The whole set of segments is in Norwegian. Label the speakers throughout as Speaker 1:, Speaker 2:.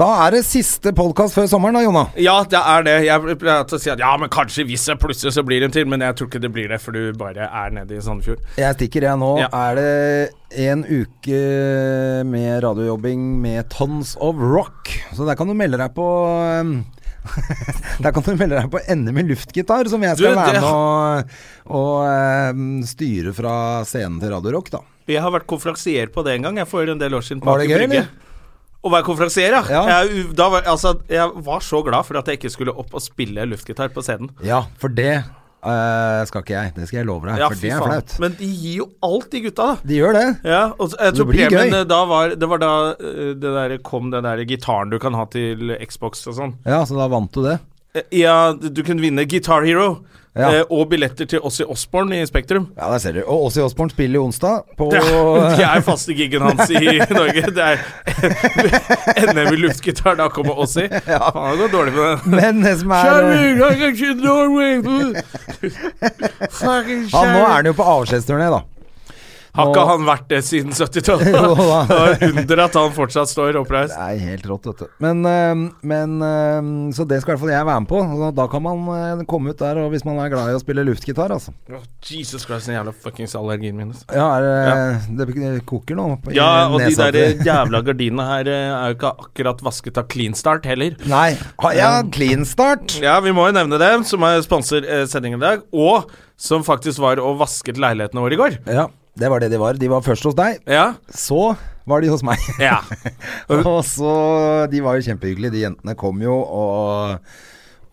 Speaker 1: Da er det siste podkast før sommeren da, Jonna.
Speaker 2: Ja, det er det. Jeg pleier til å si at ja, men kanskje hvis jeg plutselig så blir det en til, men jeg tror ikke det blir det, for du bare er nede i Sandefjord.
Speaker 1: Jeg stikker, jeg. Nå
Speaker 2: Ja.
Speaker 1: er det en uke med radiojobbing med tons of rock. Så der kan du melde deg på um, Der kan du melde deg på NM i luftgitar, som jeg skal
Speaker 2: Du,
Speaker 1: være
Speaker 2: det-
Speaker 1: med og, og um, styre fra scenen til Radio Rock, da.
Speaker 2: Jeg har vært konferansier på det en gang, jeg for en del år siden. på
Speaker 1: Var det
Speaker 2: Aker
Speaker 1: gøy,
Speaker 2: Brygge.
Speaker 1: eller?
Speaker 2: Å være konferansier, ja.
Speaker 1: Ja.
Speaker 2: Jeg, da var, altså, jeg var så glad for at jeg ikke skulle opp og spille luftgitar på scenen.
Speaker 1: Ja, for det eh, skal ikke jeg. Det skal jeg love deg,
Speaker 2: Ja,
Speaker 1: for
Speaker 2: fy
Speaker 1: det er
Speaker 2: faen.
Speaker 1: flaut.
Speaker 2: Men de gir jo alt, de gutta, da.
Speaker 1: De gjør det.
Speaker 2: Ja, og så- jeg tror
Speaker 1: Det blir
Speaker 2: premien
Speaker 1: gøy.
Speaker 2: eh, da var Det var da eh, det der kom den der gitaren du kan ha til Xbox og sånn.
Speaker 1: Ja, så da vant du det.
Speaker 2: Eh, Ja, du kunne vinne Guitar Hero
Speaker 1: Ja.
Speaker 2: eh, og billetter til Ossi Osborn i Spektrum.
Speaker 1: Ja, der ser du. Og Åssi Osborn spiller jo onsdag på
Speaker 2: Det er, det er faste giggen hans i Norge. Det er NM i luftgitar, da kommer Ossi. Faen, det går dårlig med den.
Speaker 1: Men det som er Ja, nå er han jo på avskjedsturné, da.
Speaker 2: Har ikke han vært det siden 70-tallet?
Speaker 1: Jo da.
Speaker 2: Det er under at han fortsatt står oppreist.
Speaker 1: Det er helt rått, vet du. Men, eh, men eh, Så det skal i hvert fall jeg være med på. Så Da kan man eh, komme ut der, og hvis man er glad i å spille luftgitar, altså.
Speaker 2: Åh, Jesus Christ, den jævla fuckings allergien min. altså.
Speaker 1: Ja, er, det- det koker nå. på- i
Speaker 2: Ja, og de
Speaker 1: nesa
Speaker 2: der
Speaker 1: til-
Speaker 2: jævla gardinene her eh, er jo ikke akkurat vasket av Clean Start heller.
Speaker 1: Nei. Ha, ja, clean start.
Speaker 2: Ja, vi må jo nevne dem, som er sponser eh, sendingen i dag, og som faktisk var og vasket leilighetene våre i går.
Speaker 1: Ja, det var det de var. De var først hos deg,
Speaker 2: Ja.
Speaker 1: så var de hos meg.
Speaker 2: ja.
Speaker 1: Og så De var jo kjempehyggelige. De jentene kom jo og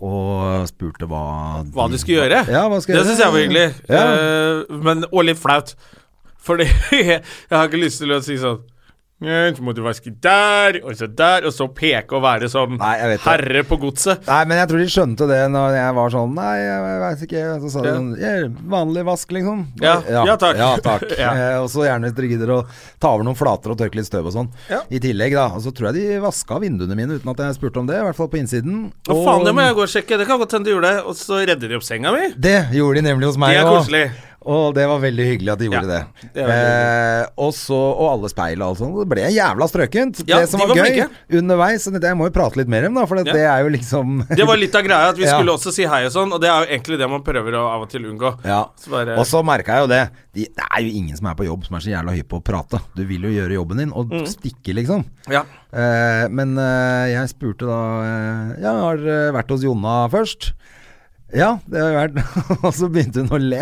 Speaker 1: og spurte hva
Speaker 2: Hva du skulle gjøre.
Speaker 1: Ja, hva skal
Speaker 2: det syns jeg var hyggelig.
Speaker 1: Ja.
Speaker 2: Eh, men, og litt flaut. Fordi jeg har ikke lyst til å si sånn «Nei, så må du vaske der, og så der, og så peke og være som
Speaker 1: Nei, jeg vet det.
Speaker 2: herre på godset.
Speaker 1: Nei, men jeg tror de skjønte det når jeg var sånn Nei, jeg, jeg veit ikke. Så sa de
Speaker 2: Ja.
Speaker 1: sånn «Ja, Vanlig vask, liksom.
Speaker 2: Ja. Ja, takk.
Speaker 1: Ja, takk.
Speaker 2: Ja.
Speaker 1: Eh, og så gjerne hvis dere gidder å ta over noen flater og tørke litt støv og sånn.
Speaker 2: Ja.
Speaker 1: I tillegg, da. Og så tror jeg de vaska vinduene mine uten at jeg spurte om det. I hvert fall på innsiden.
Speaker 2: Å faen, det må jeg gå og sjekke. Det kan godt hende de gjorde det. Og så redder de opp senga mi.
Speaker 1: Det gjorde de nemlig hos meg
Speaker 2: Det er
Speaker 1: også.
Speaker 2: koselig.
Speaker 1: Og det var veldig hyggelig at de gjorde
Speaker 2: Ja,
Speaker 1: det.
Speaker 2: det er
Speaker 1: eh, og så, og alle speil og alt sånt. Det ble jævla strøkent.
Speaker 2: Ja,
Speaker 1: det som
Speaker 2: de
Speaker 1: var,
Speaker 2: var
Speaker 1: gøy
Speaker 2: flinke.
Speaker 1: underveis Så tenkte jeg, Jeg må jo prate litt mer om det, for det,
Speaker 2: Ja.
Speaker 1: det er jo liksom
Speaker 2: Det var litt av greia, at vi
Speaker 1: Ja.
Speaker 2: skulle også si hei og sånn, og det er jo egentlig det man prøver å av og til unngå.
Speaker 1: Ja.
Speaker 2: Så bare,
Speaker 1: Og så merka jeg jo det. De, det er jo ingen som er på jobb som er så jævla hypp på å prate. Du vil jo gjøre jobben din, og
Speaker 2: Mm.
Speaker 1: stikke, liksom.
Speaker 2: ja.
Speaker 1: Eh, men eh, jeg spurte da eh, Ja, har dere vært hos Jonna først? Ja, det har jeg vært. og så begynte hun å le.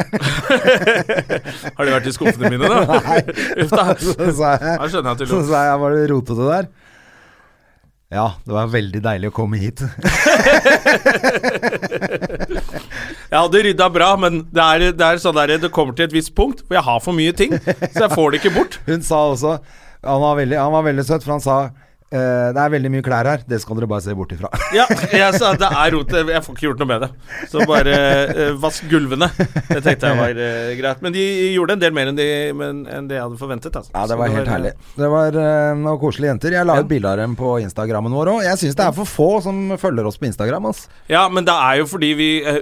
Speaker 2: Har de vært i skuffene mine, da? Uff da.
Speaker 1: så sa
Speaker 2: Her
Speaker 1: jeg,
Speaker 2: skjønner jeg at du
Speaker 1: så
Speaker 2: lo.
Speaker 1: sa jeg var det rotete der? Ja, det var veldig deilig å komme hit.
Speaker 2: Jeg hadde rydda bra, men det er, det er sånn der, det kommer til et visst punkt hvor jeg har for mye ting, så jeg får det ikke bort.
Speaker 1: Hun sa også Han var veldig, han var veldig søt, for han sa eh, det er veldig mye klær her, det skal dere bare se bort ifra.
Speaker 2: Ja, jeg sa det er rot, jeg får ikke gjort noe med det. Så bare eh, vask gulvene. Det tenkte jeg var eh, greit. Men de gjorde en del mer enn, de, men, enn det jeg hadde forventet. Altså.
Speaker 1: Ja, det
Speaker 2: Så
Speaker 1: var helt herlig. Det var eh, noen koselige jenter. Jeg la ut bilde av dem på Instagrammen vår òg. Jeg syns det er for få som følger oss på Instagram. Ass.
Speaker 2: Ja, men det er jo fordi vi eh,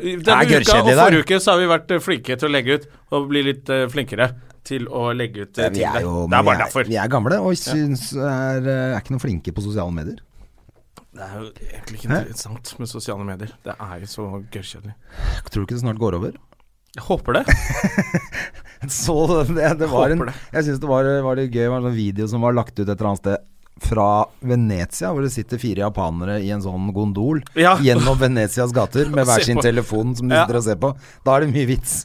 Speaker 1: Det er
Speaker 2: Denne uka og
Speaker 1: gørrkjedelig der.
Speaker 2: forrige uke så har vi vært eh, flinke til å legge ut, og bli litt eh, flinkere til å legge ut eh,
Speaker 1: Vi
Speaker 2: ting
Speaker 1: er
Speaker 2: der.
Speaker 1: jo
Speaker 2: Det er
Speaker 1: vi
Speaker 2: bare
Speaker 1: er,
Speaker 2: derfor.
Speaker 1: vi er gamle og syns er, eh, er ikke noe flinke på sosiale medier.
Speaker 2: Det er jo egentlig ikke interessant med sosiale medier. Det er jo så gørrkjedelig.
Speaker 1: Tror du ikke det snart går over?
Speaker 2: Jeg håper det.
Speaker 1: Så det, det var en
Speaker 2: Håper det.
Speaker 1: Jeg syns det var, var litt gøy. Det var en sånn video som var lagt ut et eller annet sted. Fra Venezia, hvor det sitter fire japanere i en sånn gondol
Speaker 2: Ja.
Speaker 1: gjennom Venezias gater med hver
Speaker 2: Se
Speaker 1: sin
Speaker 2: på.
Speaker 1: telefon som de
Speaker 2: Ja.
Speaker 1: sitter og ser på. Da er det mye vits.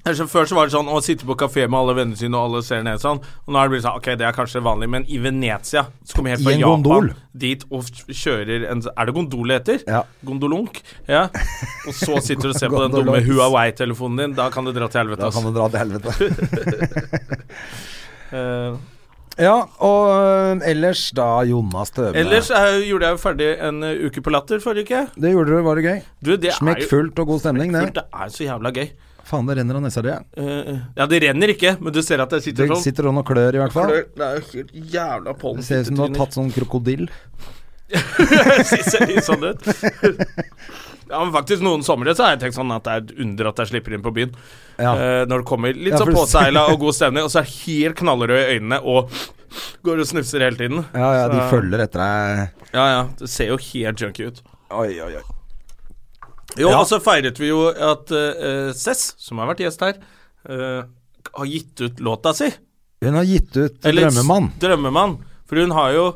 Speaker 2: Altså, Før så var det sånn å sitte på kafé med alle vennene sine, og alle ser ned sånn. Og nå er det blitt sånn ok, det er kanskje vanlig, men i Venezia så kommer jeg helt
Speaker 1: I
Speaker 2: fra
Speaker 1: en
Speaker 2: Japan
Speaker 1: gondol.
Speaker 2: dit og f- kjører en Er det gondol det heter?
Speaker 1: Ja.
Speaker 2: Gondolunk? Ja. Og så sitter du og ser på den
Speaker 1: Gondolons.
Speaker 2: dumme altså. Huawei-telefonen din. Da kan du dra til helvete,
Speaker 1: Da
Speaker 2: altså.
Speaker 1: kan det dra til helvete.
Speaker 2: Eh,
Speaker 1: Ja, og øh, ellers da Jonas Støme.
Speaker 2: Ellers eh, gjorde jeg jo ferdig en eh, uke på Latter forrige uke.
Speaker 1: Det gjorde du, var det gøy?
Speaker 2: Du, det er jo
Speaker 1: Smekkfullt og god stemning,
Speaker 2: fullt,
Speaker 1: det.
Speaker 2: det er så jævla gøy.
Speaker 1: Faen, det renner av nesa di. ja.
Speaker 2: Eh, ja, det renner ikke, men du ser at det sitter
Speaker 1: Det
Speaker 2: sånn.
Speaker 1: sitter sånn og klør, i hvert fall.
Speaker 2: Klør. Det er jo helt jævla pollen.
Speaker 1: Det ser ut som du har tatt sånn krokodille.
Speaker 2: ser, ser litt sånn ut. Ja, men faktisk Noen somre så har jeg tenkt sånn at det er et under at jeg slipper inn på byen.
Speaker 1: Ja.
Speaker 2: Eh, når det kommer litt
Speaker 1: Ja,
Speaker 2: sånn
Speaker 1: for du ser-
Speaker 2: påseila og god stemning, og så er det helt knallrøde i øynene og går og snufser hele tiden.
Speaker 1: Ja, ja, de
Speaker 2: Så-
Speaker 1: følger etter deg.
Speaker 2: Ja, ja. Det ser jo helt junky ut.
Speaker 1: Oi, oi, oi.
Speaker 2: Jo,
Speaker 1: Ja.
Speaker 2: og så feiret vi jo at eh, Cess, som har vært gjest her, eh, har gitt ut låta si.
Speaker 1: Hun har gitt ut
Speaker 2: Eller
Speaker 1: 'Drømmemann'.
Speaker 2: Drømmemann. For hun har jo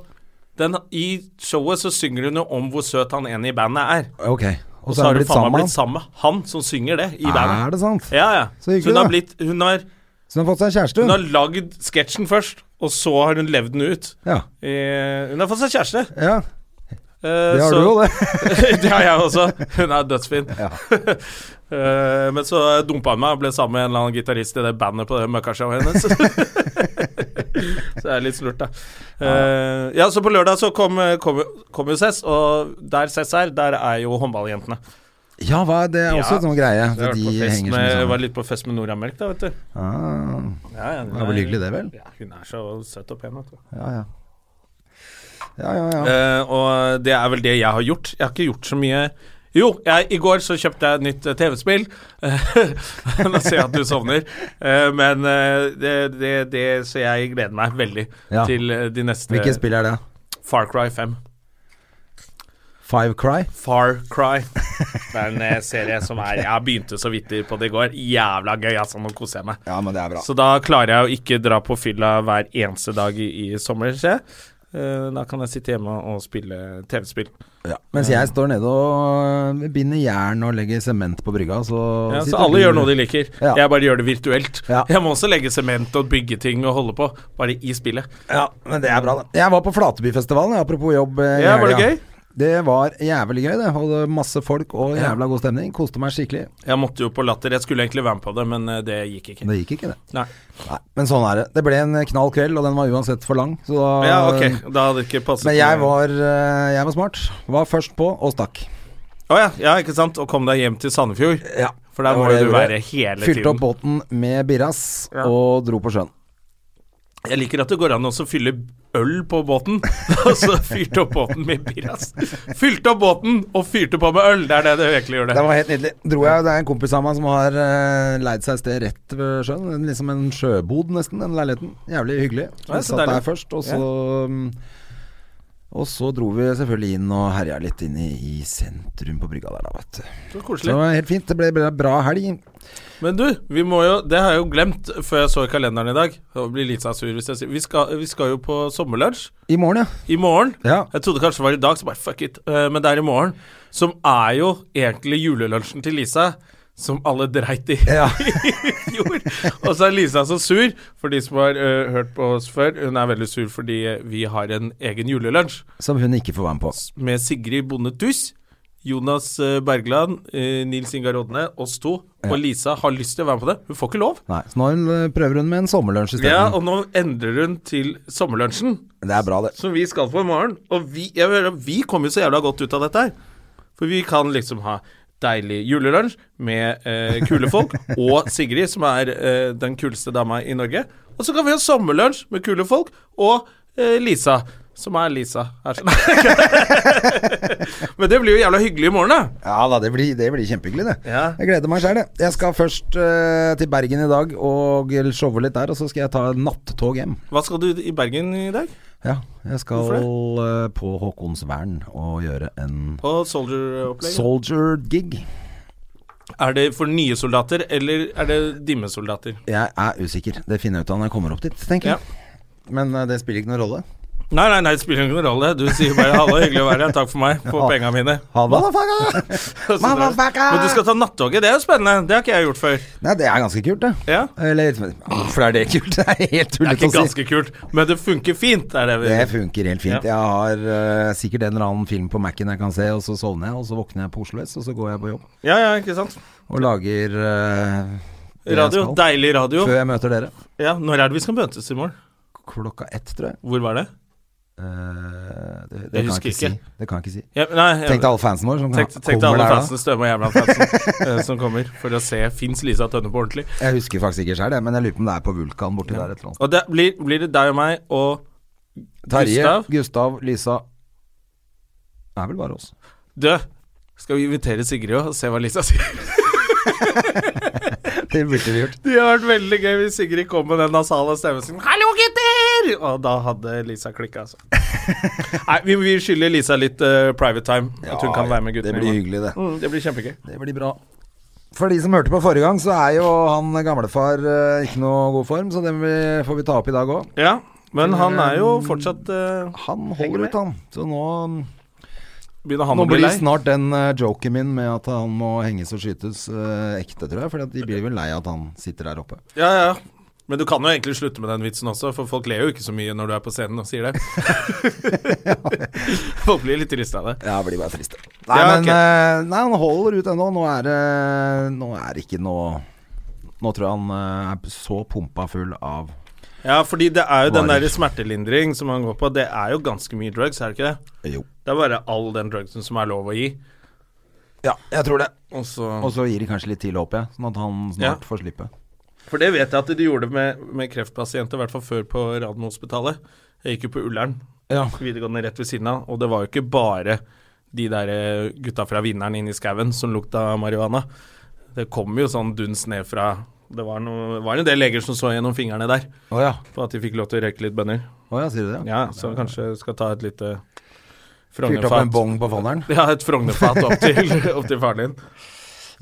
Speaker 2: den, I showet så synger hun jo om hvor søt han ene i bandet er.
Speaker 1: Ok.
Speaker 2: Og så har hun faen meg blitt sammen med han som synger det i bandet.
Speaker 1: Er det sant?
Speaker 2: Ja, ja.
Speaker 1: Så hyggelig,
Speaker 2: hun har
Speaker 1: da.
Speaker 2: blitt Hun har,
Speaker 1: Så hun har fått seg kjæreste,
Speaker 2: hun
Speaker 1: hun.
Speaker 2: har lagd sketsjen først, og så har hun levd den ut.
Speaker 1: Ja.
Speaker 2: Eh, hun har fått seg kjæreste.
Speaker 1: ja.
Speaker 2: Eh,
Speaker 1: Det har du
Speaker 2: så-
Speaker 1: jo, det.
Speaker 2: det har jeg også. Hun er dødsfin.
Speaker 1: Ja.
Speaker 2: Eh, men så dumpa hun meg og ble sammen med en eller annen gitarist i det bandet på det møkkashowet hennes. så det er litt snurt, da. Eh, ja, så på lørdag så kom, kom, kom jo Cess, og der Cess er, der er jo håndballjentene.
Speaker 1: Ja, hva er det er også
Speaker 2: Ja.
Speaker 1: en sånn greie.
Speaker 2: Jeg har
Speaker 1: at
Speaker 2: vært
Speaker 1: de
Speaker 2: på fest
Speaker 1: henger så mye
Speaker 2: med, var
Speaker 1: sammen.
Speaker 2: litt på fest med Nora Melk, da, vet du.
Speaker 1: Ah,
Speaker 2: Ja, ja,
Speaker 1: det er vel hyggelig, det, vel?
Speaker 2: Ja, hun er så søt og pen. Vet du.
Speaker 1: Ja, ja. Ja, ja, ja.
Speaker 2: Eh, og det er vel det jeg har gjort. Jeg har ikke gjort så mye Jo, jeg, i går så kjøpte jeg et nytt eh, TV-spill. Eh, Nå ser jeg at du sovner. Eh, men eh, det, det, det Så jeg gleder meg veldig
Speaker 1: Ja.
Speaker 2: til eh, de neste
Speaker 1: Hvilket spill er det?
Speaker 2: Far Cry 5.
Speaker 1: Five Cry?
Speaker 2: Far Cry. Det er en eh, serie som er Jeg begynte så vidt på det i går. Jævla gøy, altså. Nå koser jeg meg.
Speaker 1: Ja, men det er bra.
Speaker 2: Så da klarer jeg å ikke dra på fylla hver eneste dag i, i sommer, ser jeg. Eh, da kan jeg sitte hjemme og spille TV-spill.
Speaker 1: Ja. Mens jeg står nede og øh, binder jern og legger sement på brygga, så
Speaker 2: Ja, så
Speaker 1: sitter
Speaker 2: alle
Speaker 1: du-
Speaker 2: gjør noe de liker.
Speaker 1: Ja.
Speaker 2: Jeg bare gjør det virtuelt.
Speaker 1: Ja.
Speaker 2: Jeg må også legge sement og bygge ting og holde på, bare i spillet.
Speaker 1: Ja, men det er bra, da. Jeg var på Flatebyfestivalen, jeg, apropos jobb. eh, i
Speaker 2: Ja, var det
Speaker 1: helga.
Speaker 2: gøy?
Speaker 1: Det var jævlig gøy, det. Og det var masse folk og jævla god stemning. Koste meg skikkelig.
Speaker 2: Jeg måtte jo på Latter, jeg skulle egentlig være med på det, men eh, det gikk ikke.
Speaker 1: Det gikk ikke, det.
Speaker 2: Nei.
Speaker 1: Nei, men sånn er det. Det ble en knall kveld, og den var uansett for lang. Så da,
Speaker 2: Ja, ok, da hadde det ikke passet.
Speaker 1: Ah. Men jeg var, eh, jeg var smart. Var først på og stakk.
Speaker 2: Å ja, ja, ikke sant? Og kom deg hjem til Sandefjord.
Speaker 1: Ja,
Speaker 2: For der
Speaker 1: det
Speaker 2: må
Speaker 1: var det
Speaker 2: jo
Speaker 1: jeg
Speaker 2: du
Speaker 1: gjorde.
Speaker 2: være hele
Speaker 1: Fylte opp
Speaker 2: tiden.
Speaker 1: båten med birras
Speaker 2: Ja.
Speaker 1: og dro på sjøen.
Speaker 2: Jeg liker at det går an også å fylle øl på båten, og så fyrte opp båten med birras. Fylte opp båten og fyrte på med øl, det er det du egentlig gjør det.
Speaker 1: Det var helt nydelig. Dro jeg, det er en kompis av meg som har eh, leid seg et sted rett ved sjøen. En- Liksom en sjøbod, nesten, den leiligheten. Jævlig hyggelig.
Speaker 2: Ja,
Speaker 1: Vi
Speaker 2: så
Speaker 1: satt
Speaker 2: deilig.
Speaker 1: der først, og så mm, Og så dro vi selvfølgelig inn og herja litt inn i, i sentrum på brygga der, da, vet du.
Speaker 2: Det var
Speaker 1: Så det
Speaker 2: koselig.
Speaker 1: var helt fint. Det ble, ble bra helg.
Speaker 2: Men du, vi må jo Det har jeg jo glemt før jeg så i kalenderen i dag. Jeg blir litt sånn sur hvis jeg sier Vi skal, vi skal jo på sommerlunsj
Speaker 1: I morgen, ja.
Speaker 2: i morgen.
Speaker 1: ja.
Speaker 2: Jeg trodde kanskje det var i dag, så bare fuck it. Eh, Men det er i morgen. Som er jo egentlig julelunsjen til Lisa. Som alle dreit i
Speaker 1: Ja.
Speaker 2: i fjor. Og så er Lisa så sur, for de som har eh, hørt på oss før. Hun er veldig sur fordi eh, vi har en egen julelunsj
Speaker 1: Som hun ikke får være med på.
Speaker 2: med Sigrid Bonde Tus, Jonas eh, Bergland, eh, Nils Ingar Odne, oss to. Og Lisa har lyst til å være med på det. Hun får ikke lov.
Speaker 1: Nei, så nå har hun, eh, prøver hun med en sommerlunsj
Speaker 2: Ja,
Speaker 1: isteden.
Speaker 2: og nå endrer hun til sommerlunsjen,
Speaker 1: Det er bra, det.
Speaker 2: som vi skal på i morgen. Og vi, jeg vil, høre, vi kommer jo så jævla godt ut av dette her. For vi kan liksom ha deilig julelunsj med eh, kule folk og Sigrid, som er eh, den kuleste dama i Norge. Og så kan vi ha sommerlunsj med kule folk og eh, Lisa, som er Lisa. Er sånn. Men det blir jo jævla hyggelig i morgen, da.
Speaker 1: Ja da, det blir, det blir kjempehyggelig, det.
Speaker 2: Ja.
Speaker 1: Jeg gleder meg sjøl, jeg. Jeg skal først eh, til Bergen i dag og showe litt der, og så skal jeg ta nattog hjem.
Speaker 2: Hva skal du i Bergen i dag?
Speaker 1: Ja, jeg skal
Speaker 2: Hvorfor
Speaker 1: eh, på Håkonsvern og gjøre en
Speaker 2: På Soldier-opplegget?
Speaker 1: soldier-gig.
Speaker 2: Er det for nye soldater, eller er det dimmesoldater?
Speaker 1: Jeg er usikker. Det finner jeg ut av når jeg kommer opp dit, tenker
Speaker 2: Ja.
Speaker 1: jeg. Men eh, det spiller ikke noen rolle.
Speaker 2: Nei, nei, nei, det spiller ingen rolle. Du sier bare 'halla, hyggelig å være her, takk for meg', på penga mine.
Speaker 1: Ha det. Motherfucker!
Speaker 2: Så drar du.
Speaker 1: Motherfucker!
Speaker 2: Men du skal ta nattoget, det er jo spennende. Det har ikke jeg gjort før.
Speaker 1: Nei, det er ganske kult, det.
Speaker 2: Ja.
Speaker 1: Eller hvorfor er det kult? Det er helt
Speaker 2: Det er
Speaker 1: tullete
Speaker 2: ikke
Speaker 1: å si.
Speaker 2: ganske kult, men det funker fint. Er det vi.
Speaker 1: Det funker helt fint.
Speaker 2: Eh, Ja.
Speaker 1: Jeg har eh, sikkert en eller annen film på Mac-en jeg kan se, og så sovner jeg, og så våkner jeg på Oslo S, og så går jeg på jobb
Speaker 2: Ja, ja, ikke sant.
Speaker 1: og lager eh, det jeg
Speaker 2: Radio.
Speaker 1: skal,
Speaker 2: Deilig radio.
Speaker 1: Før jeg møter dere.
Speaker 2: Ja, Når er det vi skal møtes i morgen?
Speaker 1: klokka ett, tror jeg.
Speaker 2: Hvor var det?
Speaker 1: Eh, det, det
Speaker 2: Jeg
Speaker 1: kan jeg
Speaker 2: husker
Speaker 1: ikke, si.
Speaker 2: ikke.
Speaker 1: Det kan jeg ikke si.
Speaker 2: Ja, nei, jeg-
Speaker 1: Tenk deg alle fansen våre som
Speaker 2: Tenk,
Speaker 1: kommer
Speaker 2: tenk deg alle
Speaker 1: der
Speaker 2: fansen, Støme og Jævla fansen, eh, som kommer for å se Fins Lisa Tønne på ordentlig.
Speaker 1: da. Jeg husker faktisk ikke sjøl, men jeg lurer på om det er på Vulkan borti der et eller annet.
Speaker 2: Og det blir, blir det deg og meg og
Speaker 1: Terje,
Speaker 2: Gustav?
Speaker 1: Gustav, Lisa Det er vel bare oss.
Speaker 2: Du, skal vi invitere Sigrid også og se hva Lisa sier?
Speaker 1: Det burde vi gjort.
Speaker 2: Det hadde vært veldig gøy hvis Sigrid kom med den nasale stemmen sin. Hallo, gutter! Og da hadde Lisa klikka, altså. Nei, vi, vi skylder Lisa litt eh, private time. At hun kan være med
Speaker 1: det
Speaker 2: guttene.
Speaker 1: blir
Speaker 2: i morgen.
Speaker 1: hyggelig, det.
Speaker 2: Mm, det blir kjempegøy.
Speaker 1: Det blir bra. For de som hørte på forrige gang, så er jo han gamlefar eh, ikke noe god form, så den vi, får vi ta opp i dag òg.
Speaker 2: Ja, men han er jo fortsatt eh,
Speaker 1: Han holder ut, han. Så nå,
Speaker 2: Begynner han
Speaker 1: nå
Speaker 2: å bli
Speaker 1: blir
Speaker 2: lei?
Speaker 1: snart den uh, joken min med at han må henges og skytes eh, ekte, tror jeg. For de blir vel lei av at han sitter der oppe.
Speaker 2: Ja, ja. Men du kan jo egentlig slutte med den vitsen også, for folk ler jo ikke så mye når du er på scenen og sier det. folk blir litt triste av det.
Speaker 1: Ja, blir bare trist. Nei,
Speaker 2: Ja,
Speaker 1: men
Speaker 2: ok.
Speaker 1: eh, nei, han holder ut ennå. Nå er det Nå er det ikke noe Nå tror jeg han eh, er så pumpa full av
Speaker 2: Ja, fordi det er jo den
Speaker 1: Varer.
Speaker 2: der smertelindring som han går på, det er jo ganske mye drugs, er det ikke det?
Speaker 1: Jo.
Speaker 2: Det er bare all den drugsen som er lov å gi.
Speaker 1: Ja, jeg tror det.
Speaker 2: Og så
Speaker 1: Og så gir de kanskje litt til, håper jeg. Sånn at han
Speaker 2: Ja.
Speaker 1: snart får slippe.
Speaker 2: For det vet jeg at de gjorde med, med kreftpasienter, i hvert fall før på Radiumhospitalet. Jeg gikk jo på Ullern, videregående rett ved siden av, og det var jo ikke bare de der eh, gutta fra vinneren inne i skauen som lukta marihuana. Det kom jo sånn duns ned fra Det var, noe, var en del leger som så gjennom fingrene der
Speaker 1: Å ja.
Speaker 2: på at de fikk lov til å røyke litt bønner.
Speaker 1: sier du det?
Speaker 2: Ja, så kanskje skal ta et lite
Speaker 1: Fyrt opp en
Speaker 2: Frognerfat.
Speaker 1: bong på fonderen.
Speaker 2: Ja, et Frognerfat opp til, opp til faren din.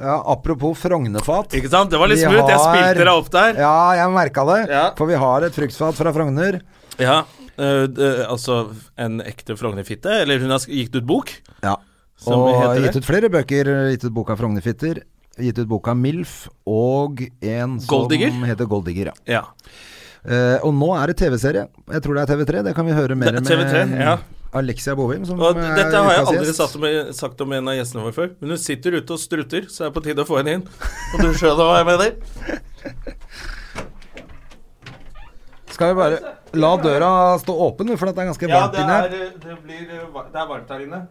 Speaker 1: Ja, apropos Frognefat.
Speaker 2: Ikke sant? Det var litt
Speaker 1: Vi
Speaker 2: smooth. Jeg
Speaker 1: har-
Speaker 2: spilte deg opp der.
Speaker 1: Ja, jeg merka det.
Speaker 2: Ja.
Speaker 1: For vi har et fruktfat fra Frogner.
Speaker 2: Ja, øh, d- altså en ekte Frognerfitte? Eller hun har sk- gitt ut bok?
Speaker 1: Ja.
Speaker 2: Som
Speaker 1: og
Speaker 2: heter det?
Speaker 1: gitt ut flere bøker. Gitt ut boka Frognerfitter. Gitt ut boka Milf. Og en som
Speaker 2: Golddigger?
Speaker 1: heter Goldigger. Ja.
Speaker 2: Ja.
Speaker 1: Eh, og nå er det TV-serie. Jeg tror det er TV3. Det kan vi høre mer
Speaker 2: Det er TV3,
Speaker 1: med
Speaker 2: ja.
Speaker 1: Alexia Bovim. Som
Speaker 2: Og d-
Speaker 1: er
Speaker 2: dette har jeg
Speaker 1: ukas
Speaker 2: aldri
Speaker 1: gjest.
Speaker 2: sagt om, sagt om en av gjestene våre før, men hun sitter ute og strutter, så det er på tide å få henne inn. Og du skjønner hva jeg mener?
Speaker 1: Skal vi bare la døra stå åpen, for det er ganske
Speaker 2: Ja,
Speaker 1: varmt
Speaker 2: det
Speaker 1: inne her.
Speaker 2: er, det blir, eh, va- det er varmt her inne.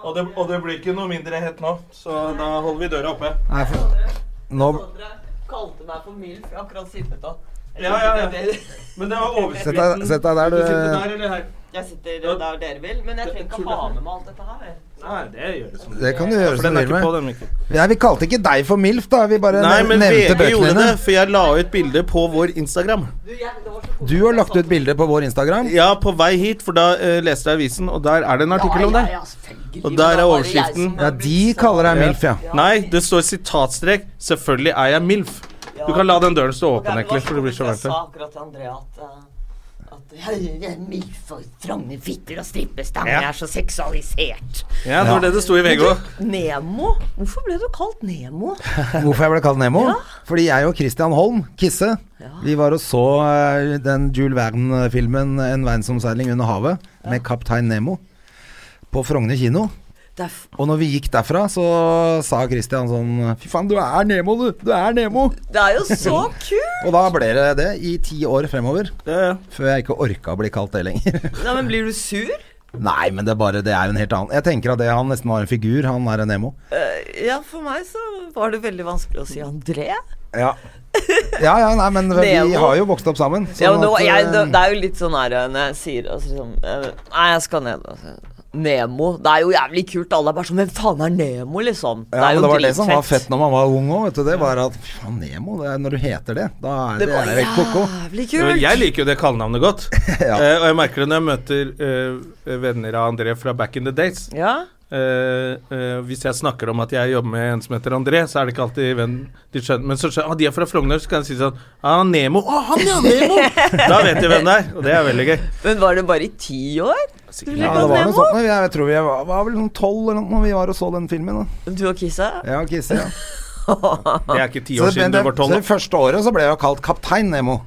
Speaker 2: Og det, og det blir ikke noe mindre hett nå, så da holder vi døra oppe.
Speaker 1: Nei, for... Nå
Speaker 3: Dere kalte meg for milf, jeg har akkurat sippet av.
Speaker 2: Ja, ja, ja. Men det var
Speaker 1: Sett deg,
Speaker 2: overskriften.
Speaker 1: sett deg der,
Speaker 2: Du sitter
Speaker 1: du.
Speaker 2: der eller her?
Speaker 3: Jeg sitter der dere vil, men jeg trenger ikke å ha med meg alt dette her.
Speaker 2: Nei, det gjør det som
Speaker 1: Det kan du gjøre
Speaker 2: For
Speaker 1: som
Speaker 2: den
Speaker 1: du
Speaker 2: er
Speaker 1: vil
Speaker 2: ikke på,
Speaker 1: med.
Speaker 2: den, Mikkel.
Speaker 1: Ja, vi kalte ikke deg for MILF, da. Vi bare
Speaker 2: Nei,
Speaker 1: nev-
Speaker 2: men
Speaker 1: nevnte
Speaker 2: VG
Speaker 1: bøkene
Speaker 2: gjorde
Speaker 1: dine.
Speaker 2: det, for jeg la ut bilde på vår Instagram.
Speaker 1: Du har lagt ut bilde på vår Instagram.
Speaker 2: Ja, på vei hit, for da eh, leste jeg avisen, og der er det en artikkel om deg. Og der er overskriften
Speaker 1: Ja, de kaller deg MILF, ja.
Speaker 2: Nei, det står sitatstrek 'Selvfølgelig er jeg MILF'. Du kan la den døren stå åpen, egentlig, for det blir så varmt
Speaker 3: Jeg
Speaker 2: her.
Speaker 3: sa akkurat til Andrea at, eh, at jeg
Speaker 4: Milf og trange fitter og strippestanger
Speaker 2: Ja.
Speaker 4: er så seksualisert.
Speaker 2: Ja, det var det det sto i VG òg.
Speaker 3: Nemo? Hvorfor ble du kalt Nemo?
Speaker 1: Hvorfor jeg ble kalt Nemo? Fordi jeg og Christian Holm, Kisse, vi var og så eh, den Jules Verne-filmen 'En verdensomseiling under havet' med Kaptein Nemo på Frogner kino.
Speaker 3: Det er f-
Speaker 1: Og når vi gikk derfra, så sa Christian sånn Fy faen, du er Nemo, du! Du er Nemo!
Speaker 3: det er jo så kult!
Speaker 1: Og da ble det det i ti år fremover.
Speaker 2: Ja,
Speaker 1: Før jeg ikke orka å bli kalt det lenger.
Speaker 3: Nei, men blir du sur?
Speaker 1: Nei, men det er bare Det er jo en helt annen Jeg tenker at det han nesten var en figur, han er en Nemo.
Speaker 3: Eh, Ja, for meg så var det veldig vanskelig å si André.
Speaker 1: Ja. Ja, ja, nei, men vi
Speaker 3: Nemo.
Speaker 1: har jo vokst opp sammen.
Speaker 3: Ja,
Speaker 1: sånn
Speaker 3: men nå,
Speaker 1: at,
Speaker 3: jeg, det,
Speaker 1: eh,
Speaker 3: det er jo litt sånn her eh, når jeg sier altså, liksom, eh, Nei, jeg skal ned. Altså. Nemo. Det er jo jævlig kult. Alle er bare sånn Hvem faen er Nemo, liksom?
Speaker 1: Ja,
Speaker 3: er
Speaker 1: men
Speaker 3: jo
Speaker 1: det var det som var fett når man var ung òg, vet du. Det var at fy faen, Nemo, det er når du heter det, da er det,
Speaker 3: Det
Speaker 1: det
Speaker 3: var
Speaker 1: er helt ko-ko.
Speaker 3: jævlig
Speaker 2: men
Speaker 3: kult.
Speaker 2: Jeg liker jo det kallenavnet godt.
Speaker 1: Ja.
Speaker 2: Eh, og jeg merker det når jeg møter eh, venner av André fra back in the days.
Speaker 3: Ja.
Speaker 2: Eh, eh, hvis jeg snakker om at jeg jobber med en som heter André, så er det ikke alltid venn de skjønner Men så skjønner ah, de er fra Frogner, så kan jeg si sånn ah, Nemo. Å, han ja, Nemo! da vet de hvem det er, og det er veldig gøy.
Speaker 3: Men var det bare i ti år? Du ble
Speaker 1: Ja, det
Speaker 3: kalt
Speaker 1: var noe
Speaker 3: Nemo?
Speaker 1: sånt. Jeg, jeg tror vi var, var vel sånn tolv eller noe når vi var og så den filmen. Da.
Speaker 3: Du og Kissa?
Speaker 1: Ja, Kisse, ja.
Speaker 2: Det er ikke ti
Speaker 1: Så
Speaker 2: år
Speaker 1: det,
Speaker 2: siden
Speaker 1: det,
Speaker 2: du var
Speaker 1: så
Speaker 2: tolv.
Speaker 1: det første året så ble jeg jo kalt Kaptein Nemo.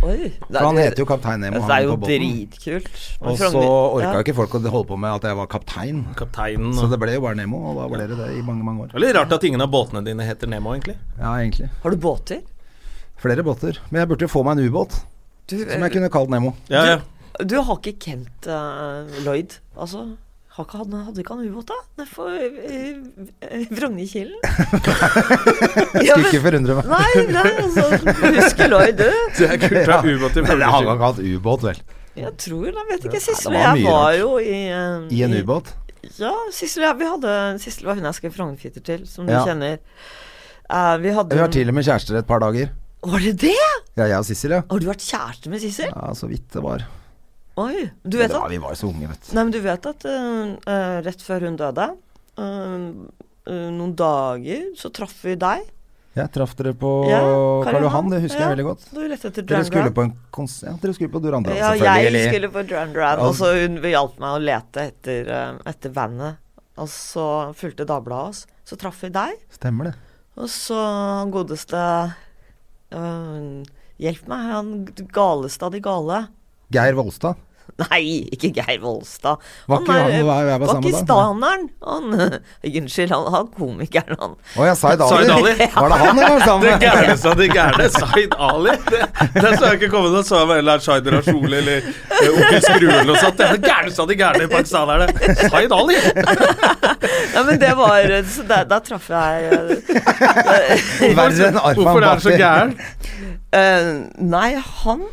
Speaker 3: Oi. Det altså,
Speaker 1: For han heter jo Kaptein Nemo.
Speaker 3: Det er
Speaker 1: han
Speaker 3: jo
Speaker 1: på båten.
Speaker 3: dritkult. Men
Speaker 1: Og så
Speaker 3: Frogner-
Speaker 1: orka
Speaker 3: ja.
Speaker 1: ikke folk å holde på med at jeg var kaptein.
Speaker 2: Kapteinen
Speaker 1: Så
Speaker 2: og
Speaker 1: det ble jo bare Nemo, og da ble det det i mange, mange år.
Speaker 2: Det er Litt rart at ingen av båtene dine heter Nemo, egentlig.
Speaker 1: Ja, egentlig.
Speaker 3: Har du båter?
Speaker 1: Flere båter. Men jeg burde jo få meg en ubåt.
Speaker 3: Du, eh,
Speaker 1: Som jeg kunne kalt Nemo.
Speaker 2: Ja, ja.
Speaker 3: du har ikke kjent eh, Lloyd, altså? Har ikke han, hadde ikke han ubåt, da? Nedfor uh, Vrognerkilen? ja,
Speaker 1: Skulle ikke
Speaker 3: men,
Speaker 1: forundre meg.
Speaker 3: nei, nei, altså Husker Lloyd, du?
Speaker 2: Det er kult fra ubåt til
Speaker 1: Men det hadde
Speaker 2: følgeskyld.
Speaker 1: ikke hatt ubåt, vel.
Speaker 3: Jeg tror Jeg vet ikke.
Speaker 1: det
Speaker 3: Sissel og
Speaker 1: var
Speaker 3: jeg
Speaker 1: mye
Speaker 3: var
Speaker 1: rart.
Speaker 3: jo i eh,
Speaker 1: I en ubåt.
Speaker 3: Ja, Sissel og jeg, vi hadde Sissel var hun jeg skrev Frognerfitter til, som du
Speaker 1: Ja.
Speaker 3: kjenner. Eh, vi hadde
Speaker 1: Vi var til og med kjærester et par dager.
Speaker 3: Var det det?!
Speaker 1: Ja, jeg og Sissel, ja.
Speaker 3: Har du vært kjæreste med Sissel?
Speaker 1: Ja, så vidt det var.
Speaker 3: Oi. Du
Speaker 1: Men
Speaker 3: vet
Speaker 1: det var
Speaker 3: at
Speaker 1: vi var jo så unge, vet du.
Speaker 3: Nei, men du vet at eh, eh, rett før hun døde, eh, eh, noen dager, så traff vi deg.
Speaker 1: Jeg traff dere på
Speaker 3: Ja,
Speaker 1: Karl Johan, det husker
Speaker 3: Ja,
Speaker 1: jeg veldig godt.
Speaker 3: Du rett etter
Speaker 1: Dere
Speaker 3: Duran
Speaker 1: skulle
Speaker 3: Duran.
Speaker 1: på en kons... Ja, dere skulle på Duran Duran,
Speaker 3: Ja, jeg
Speaker 1: selvfølgelig.
Speaker 3: skulle på Duran Duran,
Speaker 1: Ja.
Speaker 3: og så hun hjalp meg å lete etter, eh, etter vannet. Og så fulgte Dagbladet oss. Så traff vi deg,
Speaker 1: Stemmer det.
Speaker 3: og så han godeste eh, Hjelp meg, han galeste av de gale.
Speaker 1: Geir Volstad.
Speaker 3: Nei, ikke Geir Volstad.
Speaker 1: Var ikke han- var- jeg var sammen med deg?
Speaker 3: pakistaneren. eh, Han, unnskyld, han, han komikeren, han.
Speaker 1: Å ja, Zaid Ali.
Speaker 2: Zaid Ali.
Speaker 1: Var det han jeg var
Speaker 2: Det
Speaker 1: sammen med?
Speaker 2: gærneste av de gærne, Zaid Ali. Det, det så jeg ikke komme til å svare med Lars Zaid Rashul eller eh, Onkel Skrue eller noe sånt. Det er det gærneste av de gærne pakistanerne. Zaid Ali!
Speaker 3: Ja, men det var eh, så der, der traff jeg eh,
Speaker 1: Verre enn Arman
Speaker 2: Hvorfor er han så gæren?
Speaker 3: eh, Nei, han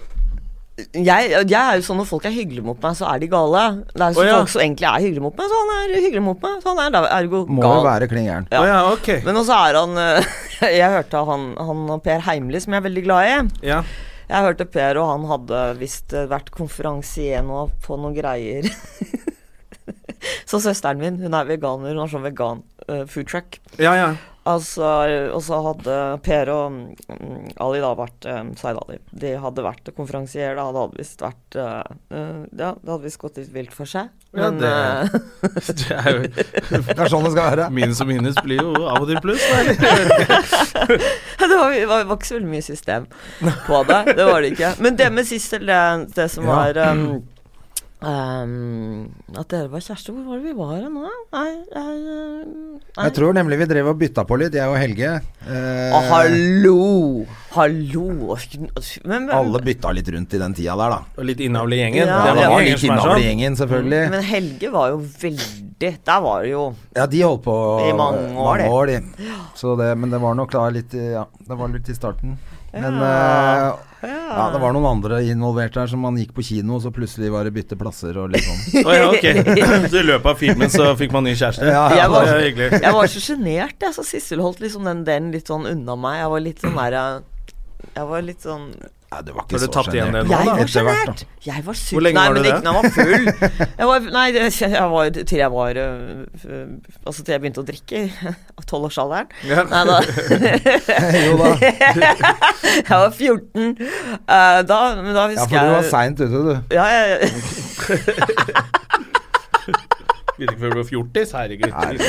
Speaker 3: jeg, jeg er jo sånn når folk er hyggelige mot meg, så er de gale. Det er jo
Speaker 2: Å,
Speaker 3: sånn
Speaker 2: ja.
Speaker 3: folk som egentlig er hyggelige mot meg, så han er hyggelig mot meg. Så han er da ergo
Speaker 1: Må jo
Speaker 3: gal.
Speaker 1: være klin gæren.
Speaker 2: Å ja, ok.
Speaker 3: Men også er han eh, Jeg hørte han, han og Per Heimli, som jeg er veldig glad i.
Speaker 2: Ja.
Speaker 3: Jeg hørte Per, og han hadde visst eh, vært konferansier nå på noen greier. så søsteren min, hun er veganer, hun har sånn vegan eh, food truck.
Speaker 2: ja, ja.
Speaker 3: Altså, eh, og så hadde Per og mm, Ali da vært um, Zaid Ali. De hadde vært konferansier, da. Det hadde visst vært eh, eh, Ja, det hadde visst gått litt vilt for seg.
Speaker 2: Ja,
Speaker 3: Men
Speaker 2: det-
Speaker 3: eh,
Speaker 2: Det er jo
Speaker 1: Det er sånn det skal være.
Speaker 2: Minus og minus blir jo av og til pluss. Eller?
Speaker 3: det var, var, var ikke så veldig mye system på det. Det var det ikke. Men det med Sissel, det, det som
Speaker 1: Ja.
Speaker 3: var um, um, At dere var kjærester. Hvor var det vi var hen nå? Nei, nei, nei.
Speaker 1: Jeg tror nemlig vi drev og bytta på litt, jeg og Helge. Eh,
Speaker 3: Å, hallo! Hallo! Men, men,
Speaker 1: alle bytta litt rundt i den tida der, da.
Speaker 2: Og litt innavl i gjengen.
Speaker 3: Ja.
Speaker 2: Det
Speaker 1: Det
Speaker 2: er
Speaker 1: var
Speaker 2: mange
Speaker 1: litt
Speaker 2: gjenger som er
Speaker 1: innavl i
Speaker 2: sånn.
Speaker 1: gjengen, selvfølgelig.
Speaker 3: Mm, men Helge var jo veldig Der var det jo
Speaker 1: Ja, de holdt på
Speaker 3: I mange
Speaker 1: eh,
Speaker 3: år, de.
Speaker 1: de. Så det, men det var nok da litt eh, Ja, det var litt i starten. Men
Speaker 3: Ja.
Speaker 1: eh, ja, det var noen andre involvert der som man gikk på kino, så plutselig var det bytte plasser og litt sånn.
Speaker 2: Å ja, ok. Så i løpet av filmen så fikk man ny kjæreste.
Speaker 1: Ja,
Speaker 2: det
Speaker 3: Jeg var,
Speaker 2: var hyggelig.
Speaker 3: jeg var så sjenert, jeg. Så Sissel holdt liksom den delen litt sånn unna meg. Jeg var litt sånn der eh, Jeg var litt sånn
Speaker 1: Nei, det var
Speaker 2: Har
Speaker 1: ikke
Speaker 2: du
Speaker 1: så
Speaker 2: tatt igjen
Speaker 1: sjenert.
Speaker 2: det nå,
Speaker 3: Jeg
Speaker 2: da?
Speaker 3: var
Speaker 1: Etter hvert,
Speaker 3: sjenert. Jeg var syk.
Speaker 2: Hvor lenge
Speaker 3: nei,
Speaker 2: var du
Speaker 3: men
Speaker 2: det?
Speaker 3: ikke når jeg var full. Jeg var, nei, det- jeg var til jeg var øh, øh, Altså til jeg begynte å drikke i tolvårsalderen.
Speaker 2: Ja.
Speaker 3: Nei da.
Speaker 1: jo da.
Speaker 3: Jeg var 14. Eh, da, men da
Speaker 1: Ja, for
Speaker 3: husker
Speaker 1: du var
Speaker 3: jeg
Speaker 1: seint ute, du.
Speaker 3: ja, jeg,
Speaker 2: Begynte ikke før du var fjortis? Herregud.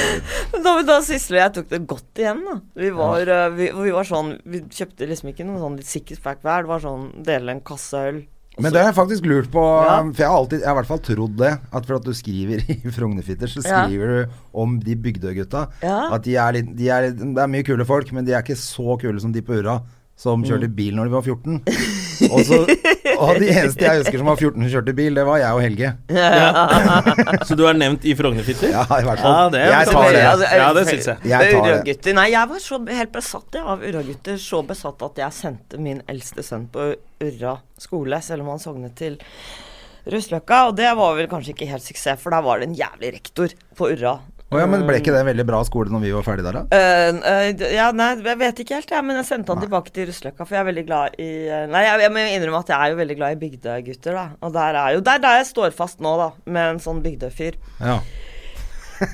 Speaker 3: da, da Sissel og jeg tok det godt igjen, da. Vi var, øh, vi, vi var sånn Vi kjøpte liksom ikke noe sånn sixpack hver. Det var sånn dele en kasse øl.
Speaker 1: Men det har jeg faktisk lurt på, um,
Speaker 3: Ja.
Speaker 1: for jeg har alltid, jeg har i hvert fall trodd det, at for at du skriver i Frognerfitter, så
Speaker 3: Ja.
Speaker 1: skriver du om de Bygdøy-gutta.
Speaker 3: Ja.
Speaker 1: At de er litt, de er, det er mye kule folk, men de er ikke så kule som de på Ura som kjørte bil når de var 14. Og, så, og de eneste jeg husker som var 14 som kjørte bil, det var jeg og Helge.
Speaker 2: Så du er nevnt i Frognerfitter?
Speaker 1: Ja, i hvert fall.
Speaker 2: Ja, det er
Speaker 1: jeg
Speaker 2: jo
Speaker 1: tar det.
Speaker 2: altså- Ja, det syns jeg.
Speaker 1: Jeg tar det.
Speaker 3: Uragutter. Nei, jeg var så helt besatt jeg, av Uragutter. Så besatt at jeg sendte min eldste sønn på Urra skole, selv om han sognet til Russløkka. Og det var vel kanskje ikke helt suksess, for der var det en jævlig rektor på Urra.
Speaker 1: Å ja, men ble ikke det en veldig bra skole når vi var ferdige der, da?
Speaker 3: Eh, eh, d- ja, nei, jeg vet ikke helt, jeg, men jeg sendte han tilbake til Russløkka, for jeg er veldig glad i eh, Nei, jeg, jeg må innrømme at jeg er jo veldig glad i bygdegutter, da. Og der er jo Det er der jeg står fast nå, da, med en sånn bygdefyr.
Speaker 1: Ja.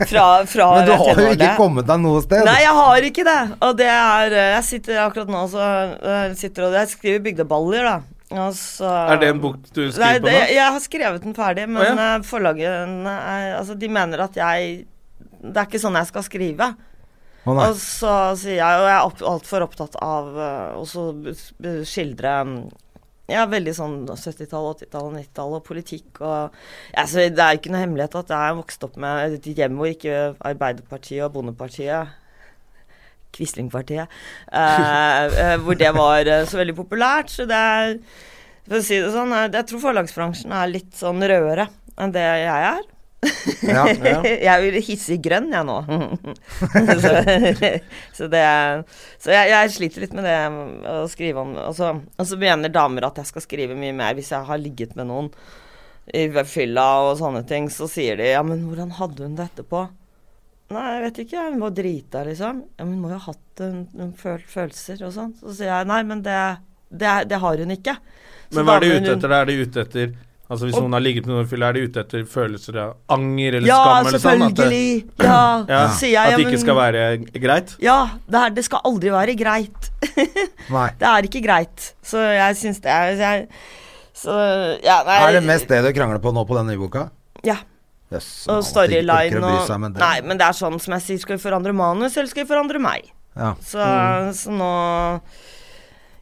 Speaker 3: Fra, fra
Speaker 1: Men du har jo ikke
Speaker 3: tenårene.
Speaker 1: kommet deg noe sted.
Speaker 3: Nei, jeg har ikke det. Og det er eh, Jeg sitter akkurat nå så eh, sitter og Jeg skriver bygdeballer, da. Og så
Speaker 2: Er det en bok du
Speaker 3: Nei,
Speaker 2: skriver på
Speaker 3: det,
Speaker 2: nå?
Speaker 3: jeg har skrevet den ferdig, men
Speaker 2: Å, ja.
Speaker 3: eh, forlagene er- Altså, de mener at jeg Det er ikke sånn jeg skal skrive.
Speaker 1: Å, nei.
Speaker 3: Og så sier jeg Og jeg er opp- altfor opptatt av eh, også b- b- skildre mm, ja, veldig sånn 70-tallet, 80-tallet, 90-tallet og politikk og ja, så Det er jo ikke noe hemmelighet at jeg er vokst opp med et hjem hvor ikke Arbeiderpartiet og Bondepartiet Quislingpartiet. Eh, eh, hvor det var eh, så veldig populært. Så det er For å si det sånn, eh, jeg tror forlagsbransjen er litt sånn rødere enn det jeg er.
Speaker 1: Ja, ja.
Speaker 3: jeg vil hisse i grønn, jeg nå. så, så det Så jeg, jeg sliter litt med det mm, å skrive om Og så, og så mener damer at jeg skal skrive mye mer hvis jeg har ligget med noen i fylla og sånne ting. Så sier de 'ja, men hvordan hadde hun det etterpå'? Nei, jeg vet ikke. Hun var drita, liksom. Ja, men hun må jo ha hatt en, en føl følelser og sånn. Så sier jeg nei, men det, det, er- det har hun ikke. Så
Speaker 2: Men hva er de
Speaker 3: damen
Speaker 2: ute
Speaker 3: hun-
Speaker 2: etter? da? Er de ute etter Altså Hvis
Speaker 3: Og-
Speaker 2: noen har ligget med noen fylla, er de ute etter følelser av anger eller
Speaker 3: Ja,
Speaker 2: skam? eller sånn? At, det-
Speaker 3: selvfølgelig. Ja,
Speaker 2: ja,
Speaker 3: sier jeg.
Speaker 2: at
Speaker 3: ja,
Speaker 2: det ikke
Speaker 3: men-
Speaker 2: skal være greit?
Speaker 3: Ja, det, er, det skal aldri være greit.
Speaker 1: Nei.
Speaker 3: Det er ikke greit. Så jeg syns det er jeg, Så ja, nei
Speaker 1: Er det mest det du krangler på nå på denne nyboka?
Speaker 3: Ja.
Speaker 1: Yes,
Speaker 3: Og storyline og
Speaker 1: og
Speaker 3: Nei, men det er sånn som jeg sier. Skal vi forandre manus, eller skal vi forandre meg?
Speaker 1: ja.
Speaker 3: Så, så nå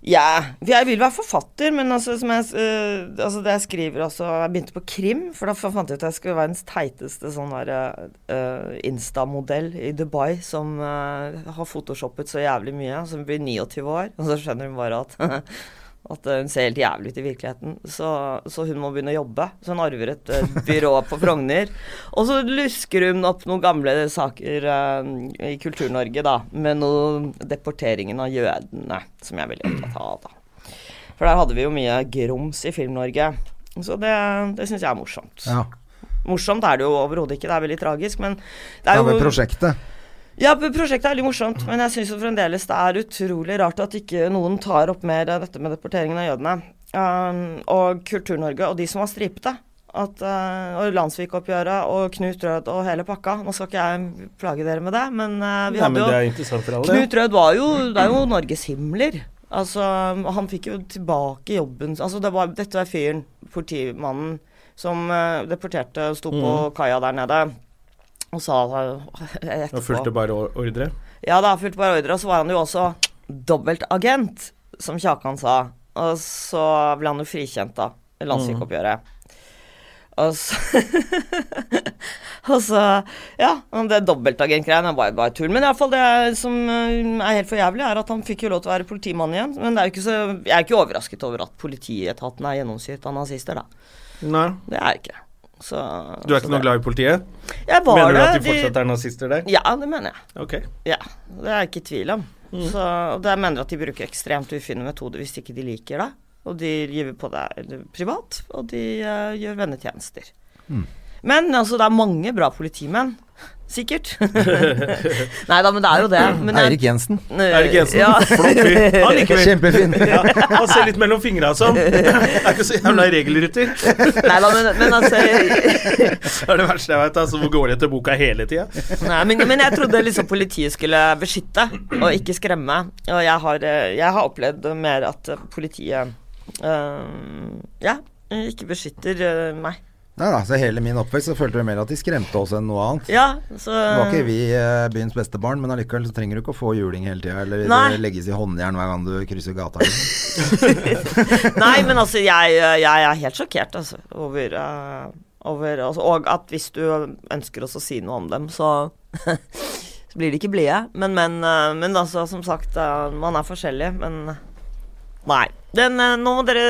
Speaker 3: Ja. For jeg vil være forfatter, men altså, som jeg, eh, altså det jeg skriver også Jeg begynte på krim, for da fant jeg ut at jeg skulle være verdens teiteste sånn der eh, Insta-modell i Dubai som eh, har photoshoppet så jævlig mye, som blir 29 år, og så skjønner hun bare at At eh, hun ser helt jævlig ut i virkeligheten. Så, så hun må begynne å jobbe. Så hun arver et eh, byrå på Frogner. Og så lusker hun opp noen gamle saker eh, i Kultur-Norge, da. Med noe deporteringen av jødene, som jeg er veldig opptatt av, da. For der hadde vi jo mye grums i Film-Norge. Så det, det syns jeg er morsomt.
Speaker 1: ja.
Speaker 3: Morsomt er det jo overhodet ikke, det er veldig tragisk, men det
Speaker 1: Det
Speaker 3: er
Speaker 1: er med
Speaker 3: jo
Speaker 1: prosjektet.
Speaker 3: ja, p- prosjektet er veldig morsomt, men jeg syns jo fremdeles det er utrolig rart at ikke noen tar opp mer eh, dette med deporteringen av jødene. Um, og Kultur-Norge og de som var stripete. At, eh, og Landsvik-oppgjøret og Knut Rød og hele pakka. Nå skal ikke jeg plage dere med det, men eh, vi
Speaker 2: Nei, men
Speaker 3: hadde jo
Speaker 2: det er interessant for alle.
Speaker 3: Knut Rød var jo, det er jo Norges himmler. Altså, han fikk jo tilbake jobben Altså, det var, dette var fyren, politimannen, som eh, deporterte og sto på
Speaker 2: Mm.
Speaker 3: kaia der nede og sa eh,
Speaker 2: Og fulgte bare or- ordre.
Speaker 3: ja, da fulgte bare ordre, og så var han jo også dobbeltagent, som Kjakan sa. Og så ble han jo frikjent, da, i landssykkeoppgjøret. Og så Og så Ja, og det dobbeltagentgreiene er bare, bare tull. Men iallfall det som eh, er helt for jævlig, er at han fikk jo lov til å være politimann igjen. Men det er jo ikke så, jeg er ikke overrasket over at politietaten er gjennomsyret av nazister, da.
Speaker 2: Nei.
Speaker 3: Det er jeg ikke. Så
Speaker 2: Du er ikke noe glad i politiet?
Speaker 3: Jeg var
Speaker 2: Mener du at
Speaker 3: det,
Speaker 2: de fortsatt er nazister der?
Speaker 3: Ja, det mener jeg.
Speaker 2: Ok.
Speaker 3: Ja, det er jeg ikke i tvil om.
Speaker 2: Mm.
Speaker 3: Så, og jeg mener at de bruker ekstremt ufine metoder hvis ikke de liker det. Og de gyver på deg privat, og de eh, gjør vennetjenester.
Speaker 2: Mm.
Speaker 3: Men altså, det er mange bra politimenn. Sikkert. Nei da, men det er jo det. Men jeg-
Speaker 1: Eirik Jensen.
Speaker 2: Eirik Jensen.
Speaker 3: Ja.
Speaker 2: Flott fyr. Han liker vi.
Speaker 1: Kjempefin.
Speaker 2: Ja, han ser litt mellom fingra og sånn. Er ikke så jævla regelrytter. Det
Speaker 3: Nei da, men, men altså
Speaker 2: er det verste jeg veit. Altså, hvor går de etter boka hele tida?
Speaker 3: Nei, men, men jeg trodde liksom politiet skulle beskytte og ikke skremme. Og jeg har, eh, jeg har opplevd mer at eh, politiet eh, Ja, ikke beskytter eh, meg.
Speaker 1: Nei da, så hele min oppvekst så følte vi mer at de skremte oss enn noe annet.
Speaker 3: Ja, så
Speaker 1: Det var ikke vi eh, byens beste barn, men allikevel så trenger du ikke å få juling hele tida, eller
Speaker 3: Nei.
Speaker 1: det legges i håndjern hver gang du krysser gata.
Speaker 3: Nei, men altså, jeg, jeg er helt sjokkert altså, over, eh, over altså, Og at hvis du ønsker oss å si noe om dem, så, så blir de ikke blide. Men, men, eh, men altså, som sagt, eh, man er forskjellig, men Nei. Den, eh, nå må dere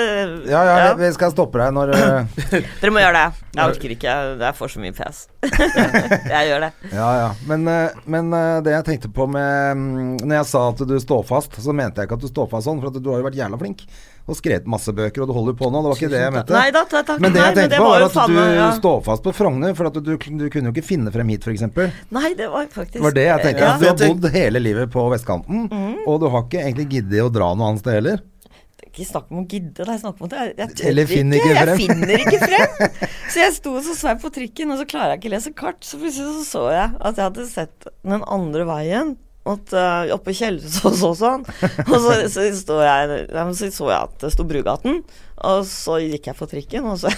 Speaker 1: Ja, ja,
Speaker 3: ja,
Speaker 1: vi, vi skal stoppe deg når eh,
Speaker 3: Dere må gjøre det. Jeg orker ikke. Jeg får så mye fes. jeg gjør det.
Speaker 1: Ja, ja. Men, eh, men eh, det jeg tenkte på med mm, Når jeg sa at du står fast, så mente jeg ikke at du står fast sånn, for at du har jo vært jævla flink og skrevet masse bøker, og du holder jo på nå. Det var ikke det jeg mente.
Speaker 3: Nei da, ta- takk.
Speaker 1: Men det
Speaker 3: Nei,
Speaker 1: jeg tenkte på,
Speaker 3: var
Speaker 1: var
Speaker 3: jo
Speaker 1: at
Speaker 3: faen
Speaker 1: du
Speaker 3: meg- ja.
Speaker 1: står fast på Frogner, for at du, du kunne jo ikke finne frem hit, f.eks. Det
Speaker 3: Nei, det var faktisk
Speaker 1: var det jeg tenkte.
Speaker 3: Ja. Mhm.
Speaker 1: at Du har bodd hele livet på vestkanten, og du har ikke egentlig giddet å dra noe annet sted heller.
Speaker 3: ikke snakk om å gidde, det er snakk om at jeg, jeg tør
Speaker 1: Eller finner ikke frem.
Speaker 3: Jeg finner ikke frem. Så jeg sto og så svei på trikken, og så klarer jeg ikke å lese kart. Så plutselig så, så jeg at jeg hadde sett den andre veien. At eh, Oppe i kjelleren så så sånn. Og så så, står jeg, ja, men så så jeg at det sto Brugaten. Og så gikk jeg på trikken, og så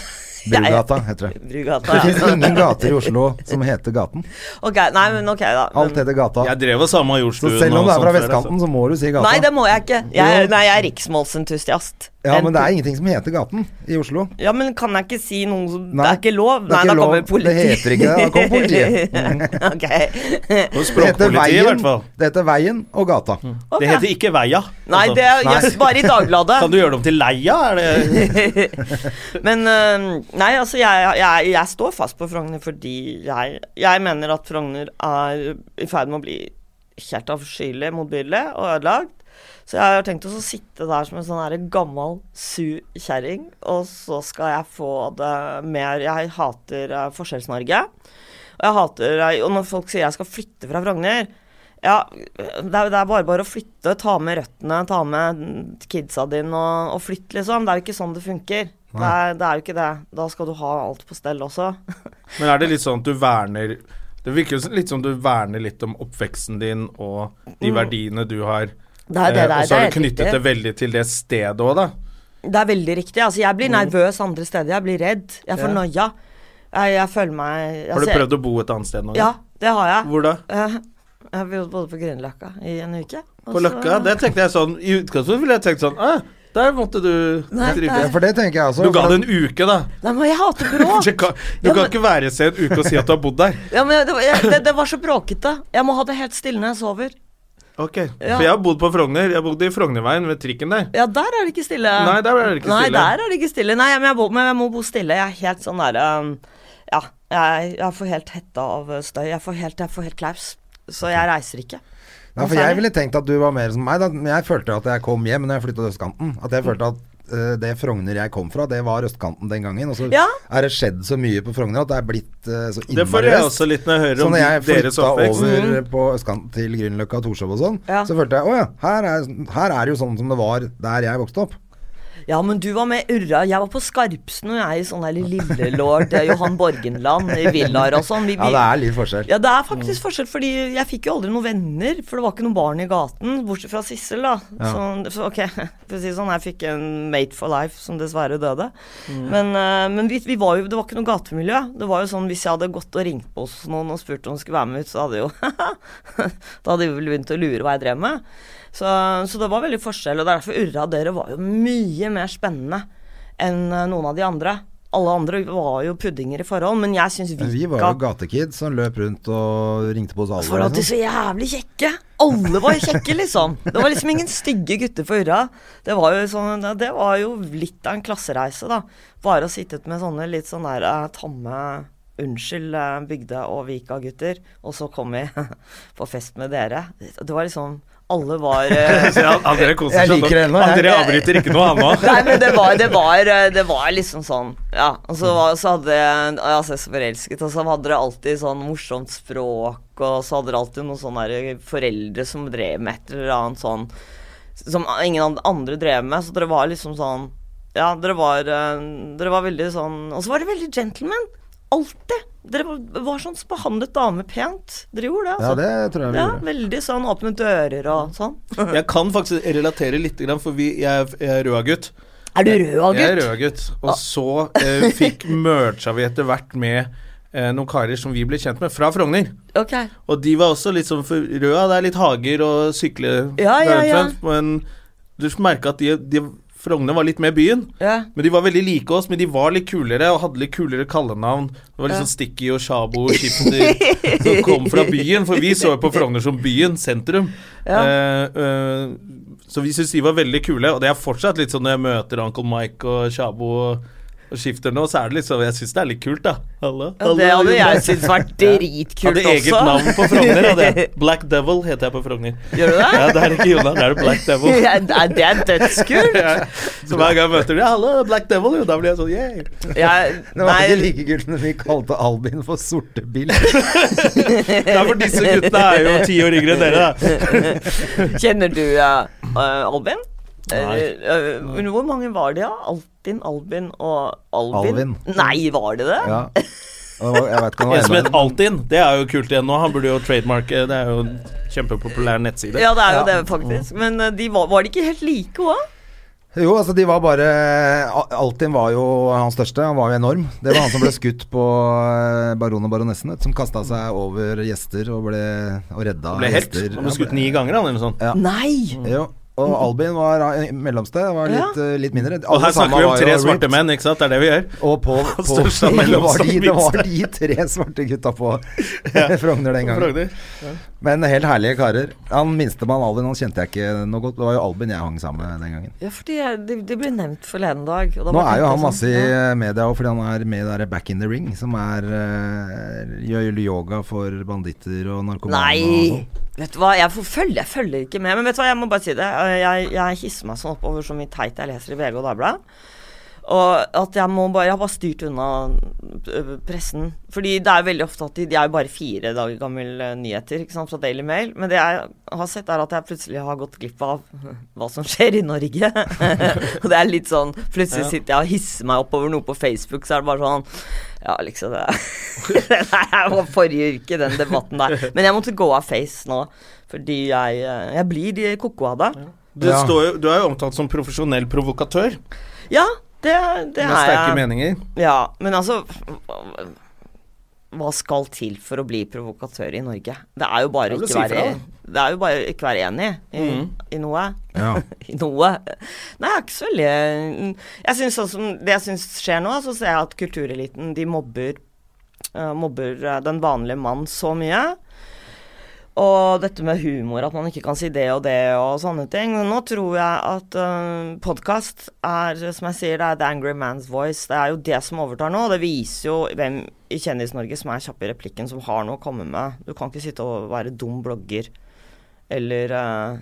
Speaker 1: Brugata, heter det.
Speaker 3: Brugata.
Speaker 1: Det
Speaker 3: ja.
Speaker 1: fins ingen gater i Oslo som heter Gaten.
Speaker 3: Ok, nei, men ok, da. Men-
Speaker 1: Alt heter Gata.
Speaker 2: Jeg drev og sama
Speaker 1: Så
Speaker 2: jordstuen
Speaker 1: selv om
Speaker 2: og
Speaker 1: du er
Speaker 2: sånt
Speaker 1: fra
Speaker 2: før, altså.
Speaker 1: vestkanten, så må du si Gata.
Speaker 3: Nei, det må jeg ikke. Jeg,
Speaker 1: altså. Jo.
Speaker 3: nei, jeg er riksmålsentusiast.
Speaker 1: Ja, men det er ingenting som heter Gaten i Oslo.
Speaker 3: Ja, men kan jeg ikke si noe som Det
Speaker 1: Nei,
Speaker 3: er ikke lov?
Speaker 1: det er
Speaker 3: Nei,
Speaker 1: ikke
Speaker 3: da
Speaker 1: lov.
Speaker 3: kommer politiet.
Speaker 1: Det heter ikke det, da kommer politiet.
Speaker 3: ok.
Speaker 2: altså. Og
Speaker 1: Det heter
Speaker 2: språkpolitiet, i hvert
Speaker 1: Veien,
Speaker 2: fall.
Speaker 1: det heter veien og Gata.
Speaker 3: Mm.
Speaker 2: Det heter ikke Veia.
Speaker 3: Nei,
Speaker 2: Altså,
Speaker 3: det er jøss, bare i
Speaker 2: Kan
Speaker 3: Dagbladet.
Speaker 2: du gjøre det om til Leia? Er det
Speaker 3: Men øhm, nei, altså, jeg, jeg, jeg står fast på Frogner fordi jeg, jeg mener at Frogner er i ferd med å bli helt avskyelig, motbydelig og ødelagt. Så jeg har tenkt å så sitte der som en sånn her gammel, sur kjerring, og så skal jeg få det mer Jeg hater eh, Forskjells-Norge. Og jeg hater Og når folk sier jeg skal flytte fra Frogner Ja, det er, det er bare bare å flytte. Ta med røttene, ta med kidsa dine og, og flytt, liksom. Det er jo ikke sånn det funker. Det er, det er jo ikke det. Da skal du ha alt på stell også.
Speaker 2: Men er det litt sånn at du verner Det virker jo som- litt som du verner litt om oppveksten din og de verdiene du har.
Speaker 3: Det er Mm. det
Speaker 2: Eh, og
Speaker 3: det er,
Speaker 2: så har
Speaker 3: det
Speaker 2: du
Speaker 3: er helt
Speaker 2: knyttet det
Speaker 3: riktig.
Speaker 2: veldig til det stedet òg, da.
Speaker 3: Det er veldig riktig. Altså, jeg blir nervøs andre steder. Jeg blir redd. Jeg får
Speaker 2: Mm. Ja.
Speaker 3: noia. Jeg, jeg føler meg
Speaker 2: Har du
Speaker 3: altså, jeg-
Speaker 2: prøvd å bo et annet sted nå?
Speaker 3: Ja, det har jeg.
Speaker 2: Hvor da?
Speaker 3: Eh, Jeg har bodd på Grünerløkka i en uke. og
Speaker 2: På
Speaker 3: så-
Speaker 2: Løkka? Det tenkte jeg sånn I utgangspunktet ville jeg tenkt sånn «Ah, Der måtte du
Speaker 3: Nei,
Speaker 1: Ja,
Speaker 2: drive.
Speaker 1: for det tenker jeg også.
Speaker 2: Du ga
Speaker 1: for
Speaker 2: det
Speaker 1: at-
Speaker 2: en uke, da.
Speaker 3: Nei, men jeg hater
Speaker 2: Du
Speaker 3: bråk.
Speaker 2: kan, du
Speaker 3: Ja,
Speaker 2: kan
Speaker 3: men-
Speaker 2: ikke være i seg en uke og si at du har bodd der.
Speaker 3: Ja, men det, var- jeg, det, det var så bråkete. Jeg må ha det helt stille når jeg sover.
Speaker 2: Ok,
Speaker 3: Ja.
Speaker 2: For jeg har bodd på Frogner. Jeg bodde i Frognerveien ved trikken der.
Speaker 3: Ja, der er det ikke stille.
Speaker 2: Nei, der er det ikke
Speaker 3: Nei,
Speaker 2: stille.
Speaker 3: der er det ikke stille. Nei, men jeg, bo, men jeg må bo stille. Jeg er helt sånn der um, Ja, jeg, jeg får helt hetta av uh, støy. Jeg får helt, jeg får helt klaus. Så jeg reiser ikke.
Speaker 1: Ja, for jeg ville tenkt at du var mer som meg. Da. Men jeg følte at jeg kom hjem når jeg flytta til østkanten. At jeg følte at eh, det Frogner jeg kom fra, det var østkanten den gangen. Og så
Speaker 3: Ja.
Speaker 1: er det skjedd så mye på Frogner at det er blitt eh, så
Speaker 2: Det får jeg
Speaker 1: innmari vest.
Speaker 2: også litt når jeg hører
Speaker 1: Så
Speaker 2: om
Speaker 1: når jeg
Speaker 2: deres
Speaker 1: flytta
Speaker 2: oppvekst.
Speaker 1: over på østkanten til Grünerløkka og Torshov og sånn,
Speaker 3: Mm. Ja.
Speaker 1: så følte jeg å ja, her er, her er det jo sånn som det var der jeg vokste opp.
Speaker 3: Ja, men du var med Urra. Jeg var på Skarpsen, og jeg er i sånn der lillelord eh, Johan Borgenland i villaer og sånn. Vi-
Speaker 1: Ja,
Speaker 3: vi-
Speaker 1: det er litt forskjell.
Speaker 3: Ja, det er faktisk forskjell, fordi jeg fikk jo aldri noen venner, for det var ikke noen barn i gaten, bortsett fra Sissel, da. Så, så ok, for å si det sånn, jeg fikk en mate for life som dessverre døde.
Speaker 1: Mm.
Speaker 3: Men, eh, men vi, vi var jo, det var ikke noe gatemiljø. Det var jo sånn, hvis jeg hadde gått og ringt på hos noen og spurt om de skulle være med ut, så hadde jo Da hadde de vel begynt å lure hva jeg drev med. Så, så det var veldig forskjell, og det er derfor Urra dere var jo mye mer spennende enn eh, noen av de andre. Alle andre var jo puddinger i forhold, men jeg syns Vika
Speaker 1: Men vi var jo gatekids som løp rundt og ringte på oss alle.
Speaker 3: for at de
Speaker 1: liksom.
Speaker 3: så jævlig kjekke. Alle var kjekke, liksom. Det var liksom ingen stygge gutter for Urra. Det var jo, sånn, det var jo litt av en klassereise, da. Bare å sitte ut med sånne litt sånn der eh, tamme Unnskyld, eh, Bygdø og Vika-gutter. Og så kom vi på fest med dere. Det var liksom Alle var eh,
Speaker 2: Så ja, André koser
Speaker 1: Jeg
Speaker 2: seg
Speaker 1: liker det
Speaker 2: nå.
Speaker 1: ennå, jeg.
Speaker 2: André avbryter ikke noe, han nå.
Speaker 3: Nei, men det var, det var, eh, det var liksom sånn Ja, og så, var, så hadde jeg og Jeg var så forelsket, og så hadde dere alltid sånn morsomt språk, og så hadde dere alltid noen sånne der eh, foreldre som drev med et eller annet sånn Som ingen andre drev med, så dere var liksom sånn Ja, dere var, eh, dere var veldig sånn Og så var dere veldig gentleman. Alltid. Dere var, var sånn som behandlet damer pent. Dere gjorde det, altså.
Speaker 1: Ja, det tror jeg vi
Speaker 3: Ja,
Speaker 1: gjorde.
Speaker 3: veldig sånn åpne dører og sånn.
Speaker 2: Jeg kan faktisk relatere litt, grann, for vi, jeg, er- jeg er rød gutt.
Speaker 3: Er du rød av
Speaker 2: Jeg er
Speaker 3: gutt?
Speaker 2: rød gutt. Og så eh, fikk mercha vi etter hvert med eh, noen karer som vi ble kjent med fra Frogner.
Speaker 3: Ok.
Speaker 2: Og de var også litt sånn for røde. Det er litt hager og sykle
Speaker 3: Ja, ja, ja.
Speaker 2: Men du merka at de, de Frogner var litt med byen.
Speaker 3: Ja.
Speaker 2: Men de var veldig like oss, men de var litt kulere og hadde litt kulere kallenavn. Det var litt sånn Sticky og Shabo og Shifter som kom fra byen, for vi så jo på Frogner som byen, sentrum. Eh, eh, så vi syntes de var veldig kule, og det er fortsatt litt sånn når jeg møter Uncle Mike og Shabo og, og Shifter nå, så er det litt sånn Jeg syns det er litt kult, da. Hallo,
Speaker 3: Ja, det
Speaker 2: hallo.
Speaker 3: hadde jeg syntes vært dritkult
Speaker 2: Hadde
Speaker 3: også.
Speaker 2: eget navn på Frogner. Hadde jeg. Black Devil heter jeg på Frogner.
Speaker 3: Gjør du det?
Speaker 2: Ja, det er ikke Jonna, det er Black Devil.
Speaker 3: Ja, det er- det er dødskult.
Speaker 2: Ja. Så hver gang jeg møter dem, ja, 'hallo, Black Devil', jo, da blir jeg sånn yeah.
Speaker 3: Jeg,
Speaker 1: Det var ikke
Speaker 3: nei,
Speaker 1: like kult når vi kalte Albin for Sortebil.
Speaker 2: Ja, for disse guttene er jo ti år yngre enn dere, da.
Speaker 3: kjenner du eh, eh, Albin?
Speaker 2: Nei.
Speaker 3: Eh, eh, men hvor mange var det, da? Altin, Albin og Alvin?
Speaker 1: Alvin.
Speaker 3: Nei, var det det?
Speaker 1: Ja. Og det var- Jeg vet ikke om det
Speaker 2: En som
Speaker 1: var
Speaker 2: het Altinn, det er jo kult igjen nå. Han burde jo trademarke, det er jo en kjempepopulær nettside.
Speaker 3: Ja, det er jo det, faktisk. Men eh, de var, var de ikke helt like òg?
Speaker 1: Jo, altså de var bare Al- Altinn var jo hans største, han var jo enorm. Det var han som ble skutt på eh, Baron og baronessen, vet du, som kasta seg over gjester og ble og redda
Speaker 2: Han ble helt.
Speaker 1: gjester.
Speaker 2: Han ble skutt ni ganger, han, eller sånn. noe sånt.
Speaker 3: Nei!
Speaker 1: Jo. Og Albin var eh, mellomste, var litt, eh, litt mindre.
Speaker 2: Og her snakker vi om tre svarte
Speaker 1: menn
Speaker 2: menn, ikke sant? Det er det vi gjør.
Speaker 1: Og på, på
Speaker 2: største er
Speaker 1: det, var de,
Speaker 2: mellomste.
Speaker 1: det var de tre svarte gutta på Frogner den gangen.
Speaker 2: Frogner.
Speaker 1: Men helt herlige karer. Han minstemann Albin han kjente jeg ikke noe godt. Det var jo Albin jeg hang sammen med den gangen.
Speaker 3: Ja, fordi jeg- det, det ble nevnt forleden dag. og da
Speaker 1: Nå
Speaker 3: bare
Speaker 1: er jo
Speaker 3: tenkte
Speaker 1: han
Speaker 3: jeg
Speaker 1: masse i
Speaker 3: sånn, ja.
Speaker 1: eh, media også, fordi han er med i det der Back in the Ring, som er eh, gjør yoga for banditter og narkomane. og
Speaker 3: Nei!
Speaker 1: sånn.
Speaker 3: Vet du hva, jeg forfølger, jeg følger ikke med. Men vet du hva, jeg må bare si det. Eh, Jeg, jeg hisser meg sånn opp over så mye teit jeg leser i VG og Dagbladet. Og at jeg må bare Jeg har bare styrt unna øh, pressen. Fordi det er jo veldig ofte at de, de er jo bare fire dager gamle nyheter ikke sant, fra Daily Mail. Men det jeg har sett, er at jeg plutselig har gått glipp av hva som skjer i Norge. og det er litt sånn Plutselig sitter jeg og hisser meg opp over noe på Facebook, så er det bare sånn Ja, liksom det er- Nei, jeg var forrige uke, den debatten der. Men jeg måtte gå av Face nå. Fordi jeg, øh, jeg blir de ko-ko av det.
Speaker 2: Du,
Speaker 1: Ja.
Speaker 2: står jo, du er jo omtalt som profesjonell provokatør
Speaker 3: Ja, det, det
Speaker 2: med
Speaker 3: er
Speaker 2: sterke
Speaker 3: jeg.
Speaker 2: meninger.
Speaker 3: Ja, men altså hva- Hva skal til for å bli provokatør i Norge? Det er jo bare
Speaker 2: Det er vel å
Speaker 3: ikke
Speaker 2: si
Speaker 3: være
Speaker 2: fra, Mm.
Speaker 3: Det er jo bare ikke være enig i, i noe.
Speaker 1: Ja.
Speaker 3: I noe. Nei, jeg er ikke så veldig Jeg synes sånn som Det jeg syns skjer nå, så ser jeg at kultureliten, de mobber eh, Mobber eh, den vanlige mann så mye. Og dette med humor, at man ikke kan si det og det og sånne ting. Men nå tror jeg at uh, podkast er, som jeg sier, det er the angry man's voice. Det er jo det som overtar nå, og det viser jo hvem i Kjendis-Norge som er kjapp i replikken, som har noe å komme med. Du kan ikke sitte og være dum blogger eller eh,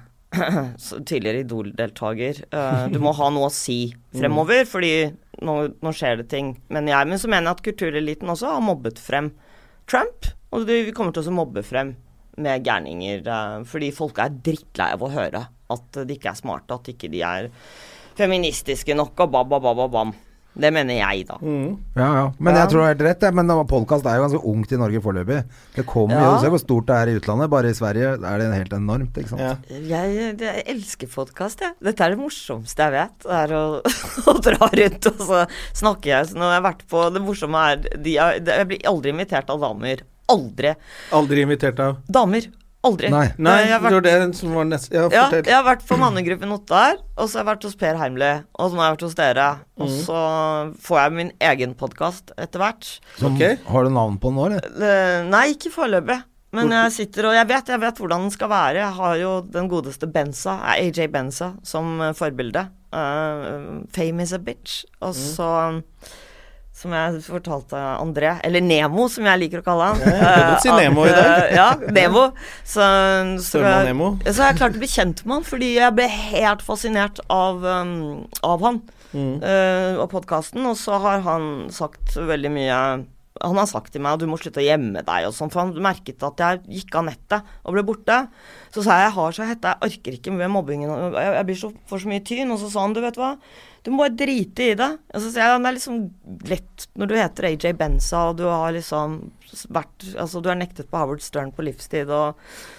Speaker 3: så tidligere Idol-deltaker. Eh, du må ha noe å si fremover, fordi nå, nå skjer det ting. Men, jeg, men så mener jeg at kultureliten også har mobbet frem Trump, og de vi kommer til å mobbe frem med gærninger, eh, fordi folk er drittlei av å høre at de ikke er smarte, at ikke de er feministiske nok, og ba-ba-ba-ba-bam. Det mener jeg, da.
Speaker 1: Ja, ja. Men
Speaker 3: Ja.
Speaker 1: jeg tror du har helt rett, jeg. Men podkast er jo ganske ungt i Norge foreløpig. Det kommer jo,
Speaker 3: Ja.
Speaker 1: se hvor stort det er i utlandet. Bare i Sverige er det helt enormt, ikke sant.
Speaker 2: Ja.
Speaker 3: Jeg, jeg elsker podkast, jeg. Dette er det morsomste jeg vet. Det er å, å dra rundt og så snakke jeg. Så nå har jeg vært på Det morsomme er de, er- det- Jeg blir aldri invitert av damer. Aldri.
Speaker 2: Aldri invitert av
Speaker 3: Damer. Aldri. Eh,
Speaker 1: Nei.
Speaker 2: Nei,
Speaker 3: jeg har
Speaker 2: det
Speaker 3: vært,
Speaker 2: var det som var neste Ja,
Speaker 3: ja,
Speaker 2: fortell.
Speaker 3: jeg har vært på mannegruppen Ottar, og så har jeg vært hos Per Heimly, og så nå har jeg vært hos dere. Og så får jeg min egen podkast etter hvert.
Speaker 1: Som,
Speaker 2: Ok.
Speaker 1: Mm. Har du navn på den nå, eller?
Speaker 3: Eh, Nei, ikke foreløpig. Men jeg sitter og jeg vet, jeg vet hvordan den skal være. Jeg har jo den godeste Benza, eh, AJ Benza, som eh, forbilde. Eh, fame is a bitch. Og
Speaker 2: Mm.
Speaker 3: så som jeg fortalte André, eller Nemo som jeg liker å kalle han.
Speaker 2: jeg kan godt si
Speaker 3: Eh,
Speaker 2: Nemo i
Speaker 3: at,
Speaker 2: dag.
Speaker 3: eh, Ja, Nemo. Så, så,
Speaker 2: Størman Nemo.
Speaker 3: så har jeg klart å bli kjent med han, fordi jeg ble helt fascinert av, um, av han eh, og podkasten. Og så har han sagt veldig mye Han har sagt til meg at du må slutte å gjemme deg og sånn, for han merket at jeg gikk av nettet og ble borte. Så sa jeg jeg har så hette, jeg orker ikke med mobbingen, og jeg, jeg blir så, får så mye tyn. Og så sa han du vet hva, du må bare drite i det. Og så sier jeg det er liksom lett når du heter AJ Benza og du har liksom vært Altså du er nektet på Howard Stern på livstid og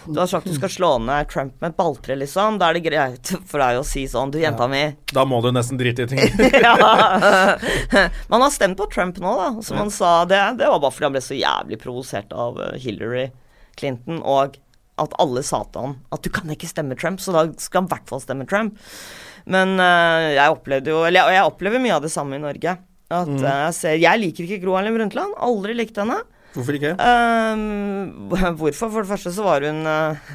Speaker 3: du har sagt du skal slå ned Trump med et balltre, liksom. Da er det greit for deg å si sånn du jenta mi,
Speaker 2: Da må du nesten drite i ting.
Speaker 3: ja. Man har stemt på Trump nå, da. Som han sa, det, det var bare fordi han ble så jævlig provosert av eh, Hillary Clinton og at alle sa til han at du kan ikke stemme Trump, så da skal han i hvert fall stemme Trump. Men eh, jeg opplevde jo Eller jeg, jeg opplever mye av det samme i Norge. At eh, jeg ser Jeg liker ikke Gro Harlem Brundtland. Aldri likte henne.
Speaker 2: Hvorfor ikke?
Speaker 3: Ehm, hvorfor? For det første så var hun eh,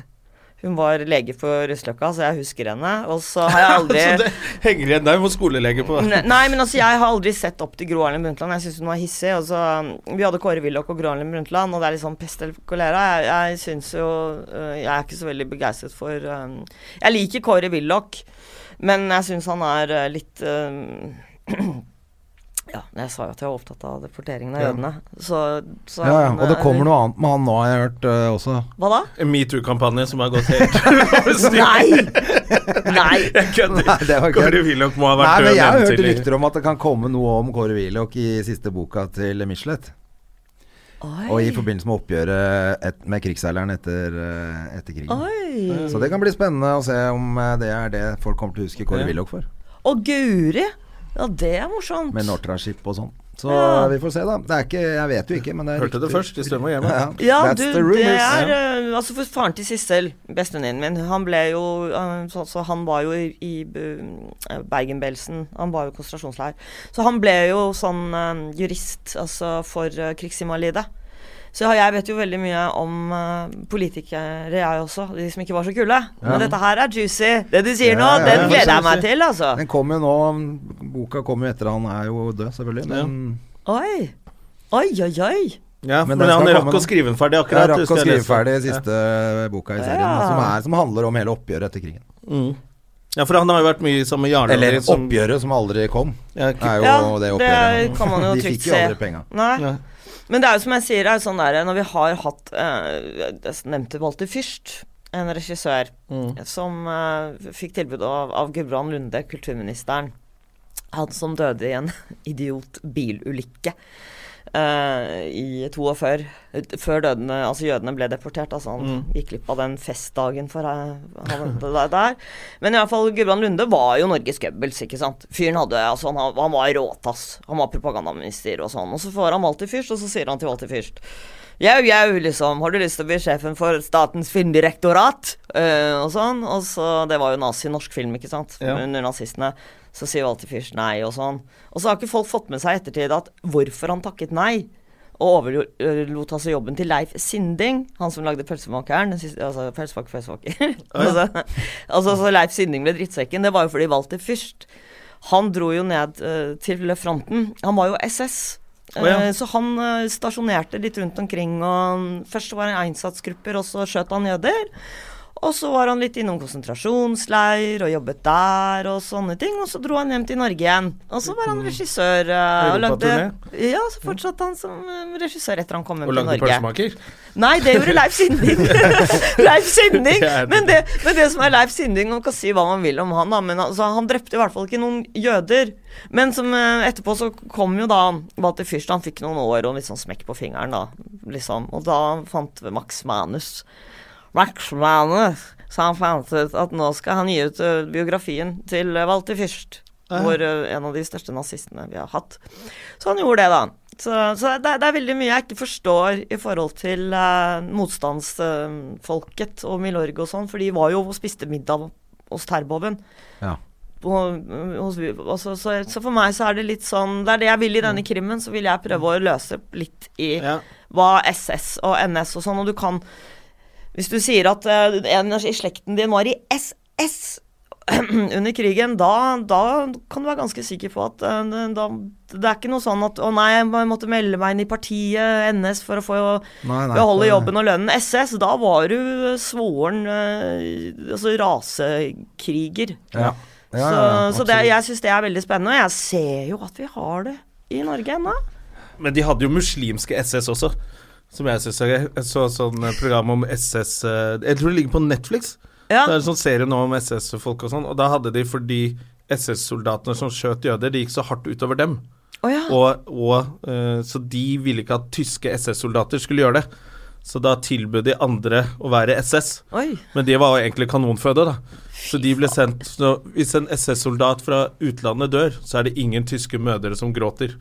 Speaker 3: Hun var lege på Russløkka, så jeg husker henne. Og så har jeg aldri
Speaker 2: Så det henger igjen der. Vi må skolelege på det.
Speaker 3: Ne- Nei, men altså, jeg har aldri sett opp til Gro Harlem Brundtland. Jeg syns hun var hissig. Og så, um, vi hadde Kåre Willoch og Gro Harlem Brundtland, og det er liksom pest eller kolera. Jeg, jeg syns jo øh, Jeg er ikke så veldig begeistret for um, Jeg liker Kåre Willoch, men jeg syns han er øh, litt um, Ja, jeg sa jo at jeg var opptatt av deporteringen av jødene. Så, så øh,
Speaker 1: Ja, ja. Og det kommer noe annet med han nå, har jeg hørt øh, også.
Speaker 3: Hva da?
Speaker 2: En metoo-kampanje som har gått helt
Speaker 3: Nei! Nei!
Speaker 2: Jeg kødder.
Speaker 1: det var
Speaker 2: Kåre Willoch må ha
Speaker 1: Nei,
Speaker 2: vært
Speaker 1: men jeg har
Speaker 2: nevnt
Speaker 1: hørt
Speaker 2: tidlig.
Speaker 1: rykter om at det kan komme noe om Kåre Willoch i siste boka til Michelet. Og i
Speaker 3: Oi.
Speaker 1: forbindelse med oppgjøret et, med krigsseileren etter, øh, etter krigen.
Speaker 3: Oi.
Speaker 1: eh, Så det kan bli spennende å se om øh, det er det folk kommer til å huske Kåre Willoch for.
Speaker 3: Å, Og Guri! Ja, det er morsomt.
Speaker 1: Med Nortraship og sånn. Så
Speaker 3: Ja.
Speaker 1: vi får se, da. Det er ikke, jeg vet jo ikke, men det er
Speaker 2: Hørte det
Speaker 1: rykter.
Speaker 2: først i Strøm og Hjemme.
Speaker 1: Ja,
Speaker 3: Ja,
Speaker 1: That's
Speaker 3: du,
Speaker 1: the rumors.
Speaker 3: det er eh, Altså, for faren til Sissel, bestevenninnen min, han ble jo eh, så, så han var jo i, i eh, Bergen-Belsen. Han var jo i konsentrasjonsleir. Så han ble jo sånn eh, jurist, altså for uh, krigsinvalide. Så ja, jeg vet jo veldig mye om eh, politikere, jeg også. De som ikke var så kule. Men dette her er juicy. Det du sier nå,
Speaker 1: Ja, ja, ja. sånn
Speaker 3: den gleder jeg meg til, altså.
Speaker 1: Den kom jo nå Boka kom jo etter han er jo død, selvfølgelig. Men
Speaker 3: Oi. Oi, oi, oi.
Speaker 2: Ja,
Speaker 1: Men
Speaker 2: men,
Speaker 1: den
Speaker 2: han
Speaker 1: skal
Speaker 2: rakk
Speaker 1: komme-
Speaker 2: å skrive den ferdig akkurat.
Speaker 1: jeg rakk å
Speaker 2: husker jeg
Speaker 1: skrive
Speaker 2: leste.
Speaker 1: ferdig siste eh, boka i serien,
Speaker 3: Ja.
Speaker 1: som, er, som handler om hele oppgjøret etter krigen.
Speaker 2: Mm. Ja, for han har jo vært mye sammen med Jarle.
Speaker 1: Eller
Speaker 2: som-
Speaker 1: oppgjøret som aldri kom,
Speaker 2: sånn- Ja,
Speaker 1: er jo det
Speaker 3: det
Speaker 1: oppgjøret.
Speaker 3: kan man jo
Speaker 1: De
Speaker 3: trygt
Speaker 1: fikk
Speaker 3: se.
Speaker 1: jo aldri penga.
Speaker 3: Nei.
Speaker 2: Nei.
Speaker 3: Men det er jo som jeg sier, det er jo sånn der, når vi har hatt eh, Jeg nevnte Walter Fürst, en regissør, som eh, fikk tilbud av, av Gudbrand Lunde, kulturministeren. Han som døde i en idiot bilulykke eh, i 42. Før dødene, altså jødene ble deportert. Altså han gikk glipp av den festdagen for eh, han, det der- der. Men i hvert fall Gudbrand Lunde var jo Norges Goebbels, ikke sant. Fyren hadde, altså han, han var råtass. Han var propagandaminister og sånn. Og så får han Walter Fürst, og så sier han til Walter Fürst Jau, jau, liksom. Har du lyst til å bli sjefen for Statens filmdirektorat? Eh, og sånn. Og så, Det var jo nazi-norsk film, ikke sant?
Speaker 2: Ja.
Speaker 3: Under nazistene. Så sier Walter Fürst nei, og sånn. Og så har ikke folk fått med seg i ettertid at hvorfor han takket nei. Og overlot altså jobben til Leif Sinding, han som lagde Pølsemakeren. den siste- Altså Pølsebaker, pølsebaker. altså, altså, så Leif Sinding ble drittsekken. Det var jo fordi Walter Fürst Han dro jo ned eh, til fronten. Han var jo SS.
Speaker 2: Å, ja.
Speaker 3: Eh, Så han eh, stasjonerte litt rundt omkring, og han, først var han i innsatsgrupper, og så skjøt han jøder. Og så var han litt innom konsentrasjonsleir og jobbet der og sånne ting. Og så dro han hjem til Norge igjen. Og så
Speaker 2: Mm.
Speaker 3: var han regissør. eh, og lagde,
Speaker 2: Europaturné?
Speaker 3: ja, så fortsatte han som eh, regissør etter han kom hjem
Speaker 2: Og
Speaker 3: til
Speaker 2: lagde
Speaker 3: Norge.
Speaker 2: pølsemaker.
Speaker 3: Nei, det gjorde Leif Sinding. Leif Sinding.
Speaker 2: Det er det.
Speaker 3: Men det, men det som er Leif Sinding, man kan si hva man vil om han, da, men altså, han drepte i hvert fall ikke noen jøder. Men som eh, etterpå så kom jo da Walter Fürst, han fikk noen år og en litt sånn smekk på fingeren, da. Liksom. Og da fant Max Manus Max Manus, så han fant ut at nå skal han gi ut eh, biografien til eh, Walter Fürst. Hvor eh, en av de største nazistene vi har hatt. Så han gjorde det, da. Så, så det, er- det er veldig mye jeg ikke forstår i forhold til eh, motstandsfolket og Milorg og sånn, for de var jo og spiste middag hos Terboven.
Speaker 1: Ja.
Speaker 3: Og, hos, altså, så, så for meg så er det litt sånn Det er det jeg vil i denne
Speaker 1: Mm.
Speaker 3: krimmen, så vil jeg prøve å løse litt i
Speaker 2: Ja.
Speaker 3: hva SS og NS og sånn, og du kan Hvis du sier at eh, en i slekten din var i SS under krigen, da, da kan du være ganske sikker på at eh, det- da, det er ikke noe sånn at 'Å nei, jeg må- jeg måtte melde meg inn i partiet NS for å få
Speaker 1: Nei, nei,
Speaker 3: beholde
Speaker 1: det-
Speaker 3: jobben og lønnen'. SS, da var du eh, svoren eh, altså rasekriger.
Speaker 1: Ja. Ja, ja, ja,
Speaker 3: så så det, jeg syns det er veldig spennende, og jeg ser jo at vi har det i Norge ennå.
Speaker 2: Men de hadde jo muslimske SS også. Som jeg syns er gøy. Jeg så sånn eh, program om SS eh, Jeg tror det ligger på Netflix.
Speaker 3: Ja.
Speaker 2: Det er en sånn serie nå om SS-folk og sånn. Og da hadde de fordi SS-soldatene som skjøt jøder, det gikk så hardt utover dem.
Speaker 3: Å ja.
Speaker 2: Og, og, eh, så de ville ikke at tyske SS-soldater skulle gjøre det. Så da tilbød de andre å være SS.
Speaker 3: Oi.
Speaker 2: Men de var jo egentlig kanonføde, da. Så de ble sendt så Hvis en SS-soldat fra utlandet dør, så er det ingen tyske mødre som gråter.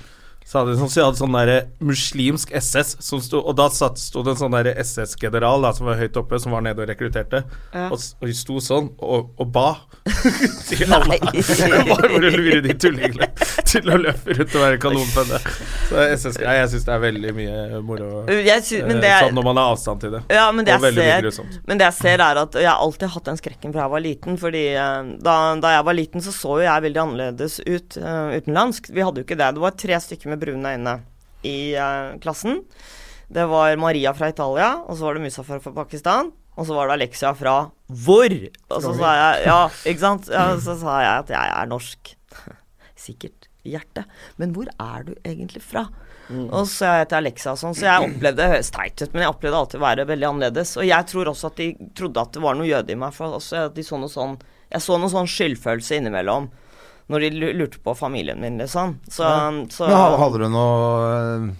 Speaker 2: Så hadde de sånn, så de hadde sånn der muslimsk SS, som sto, og da satt, sto det en sånn der SS-general da, som var høyt oppe, som var nede og rekrutterte. Og, s- og de sto sånn og, og ba. Til alle. Bare for å lure de tullingene til å løpe rundt og være kanonføde. Så SS, nei, jeg syns det er veldig mye moro.
Speaker 3: Jeg sy men det
Speaker 2: eh,
Speaker 3: er,
Speaker 2: Sånn når man har avstand til det.
Speaker 3: Ja, men det,
Speaker 2: og
Speaker 3: jeg
Speaker 2: veldig mye
Speaker 3: ser,
Speaker 2: grusomt.
Speaker 3: men det jeg ser er at og Jeg har alltid hatt den skrekken fra jeg var liten. Fordi eh, da, da jeg var liten, så så jo jeg veldig annerledes ut eh, utenlandsk. Vi hadde jo ikke det. Det var tre stykker med brune øyne i eh, klassen. Det var Maria fra Italia, og så var det Musafar fra Pakistan. Og så var det Alexia fra hvor? Og så sa jeg Ja, ikke sant? Ja, så sa jeg at jeg er norsk. Sikkert i hjertet. Men hvor er du egentlig fra?
Speaker 1: Mm.
Speaker 3: Og så er jeg til Alexa og sånn, så jeg opplevde det høres teit ut, men jeg opplevde alltid å være veldig annerledes. Og jeg tror også at de trodde at det var noe jøde i meg, for også at de så noe sånn Jeg så noe sånn skyldfølelse innimellom når de lu- lurte på familien min, liksom. Så, så
Speaker 1: Men ha- hadde du noe eh,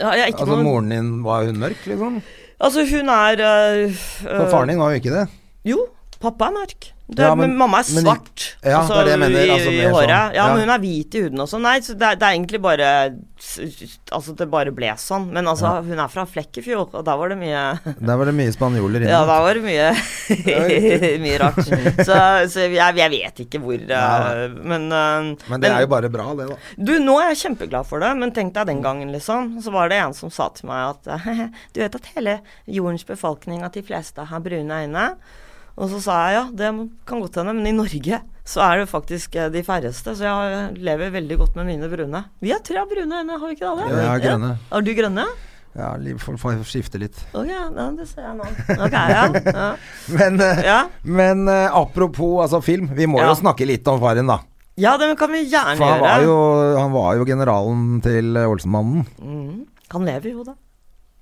Speaker 3: ja, jeg, er ikke
Speaker 1: Altså,
Speaker 3: noe,
Speaker 1: moren din, var hun mørk, liksom?
Speaker 3: altså hun er øh,
Speaker 1: For faren din var jo ikke det.
Speaker 3: Jo, pappa er mørk. Du,
Speaker 1: Ja,
Speaker 3: men,
Speaker 1: men-
Speaker 3: mamma er
Speaker 1: men-
Speaker 3: svart
Speaker 1: ja,
Speaker 3: altså,
Speaker 1: det er det jeg mener,
Speaker 3: i,
Speaker 1: altså,
Speaker 3: i
Speaker 1: mer
Speaker 3: håret.
Speaker 1: sånn,
Speaker 3: Ja,
Speaker 1: ja.
Speaker 3: men hun er hvit i huden også. Nei, så det, er- det er egentlig bare Altså, det bare ble sånn. Men altså, hun er fra Flekkefjord, og der var det mye
Speaker 1: Der var det mye spanjoler inne.
Speaker 3: Ja, der var det mye Mye rart. Så, så jeg, jeg vet ikke hvor eh,
Speaker 1: Nei,
Speaker 3: Men, eh,
Speaker 1: men det er jo bare bra, det, da.
Speaker 3: du, nå er jeg kjempeglad for det, men tenk deg den gangen, liksom. Så var det en som sa til meg at «Hehe, du vet at hele jordens befolkning, at de fleste har brune øyne. Og så sa jeg ja, det kan godt hende, men i Norge så er det faktisk eh, de færreste. Så jeg lever veldig godt med mine brune. Vi har tre brune øyne, har vi ikke det?
Speaker 1: Ja,
Speaker 3: alle?
Speaker 1: jeg har grønne.
Speaker 3: Har du grønne?
Speaker 1: Ja, liv- får får skifte litt.
Speaker 3: Ok, ja, det ser jeg nå. Ok, ja. ja.
Speaker 1: Men, eh,
Speaker 3: Ja.
Speaker 1: men eh, apropos altså film, vi må
Speaker 3: Ja.
Speaker 1: jo snakke litt om faren, da.
Speaker 3: ja, det kan vi gjerne
Speaker 1: For han
Speaker 3: gjøre.
Speaker 1: var jo, han var jo generalen til eh, Olsenmannen.
Speaker 3: Mm. Han lever jo, da.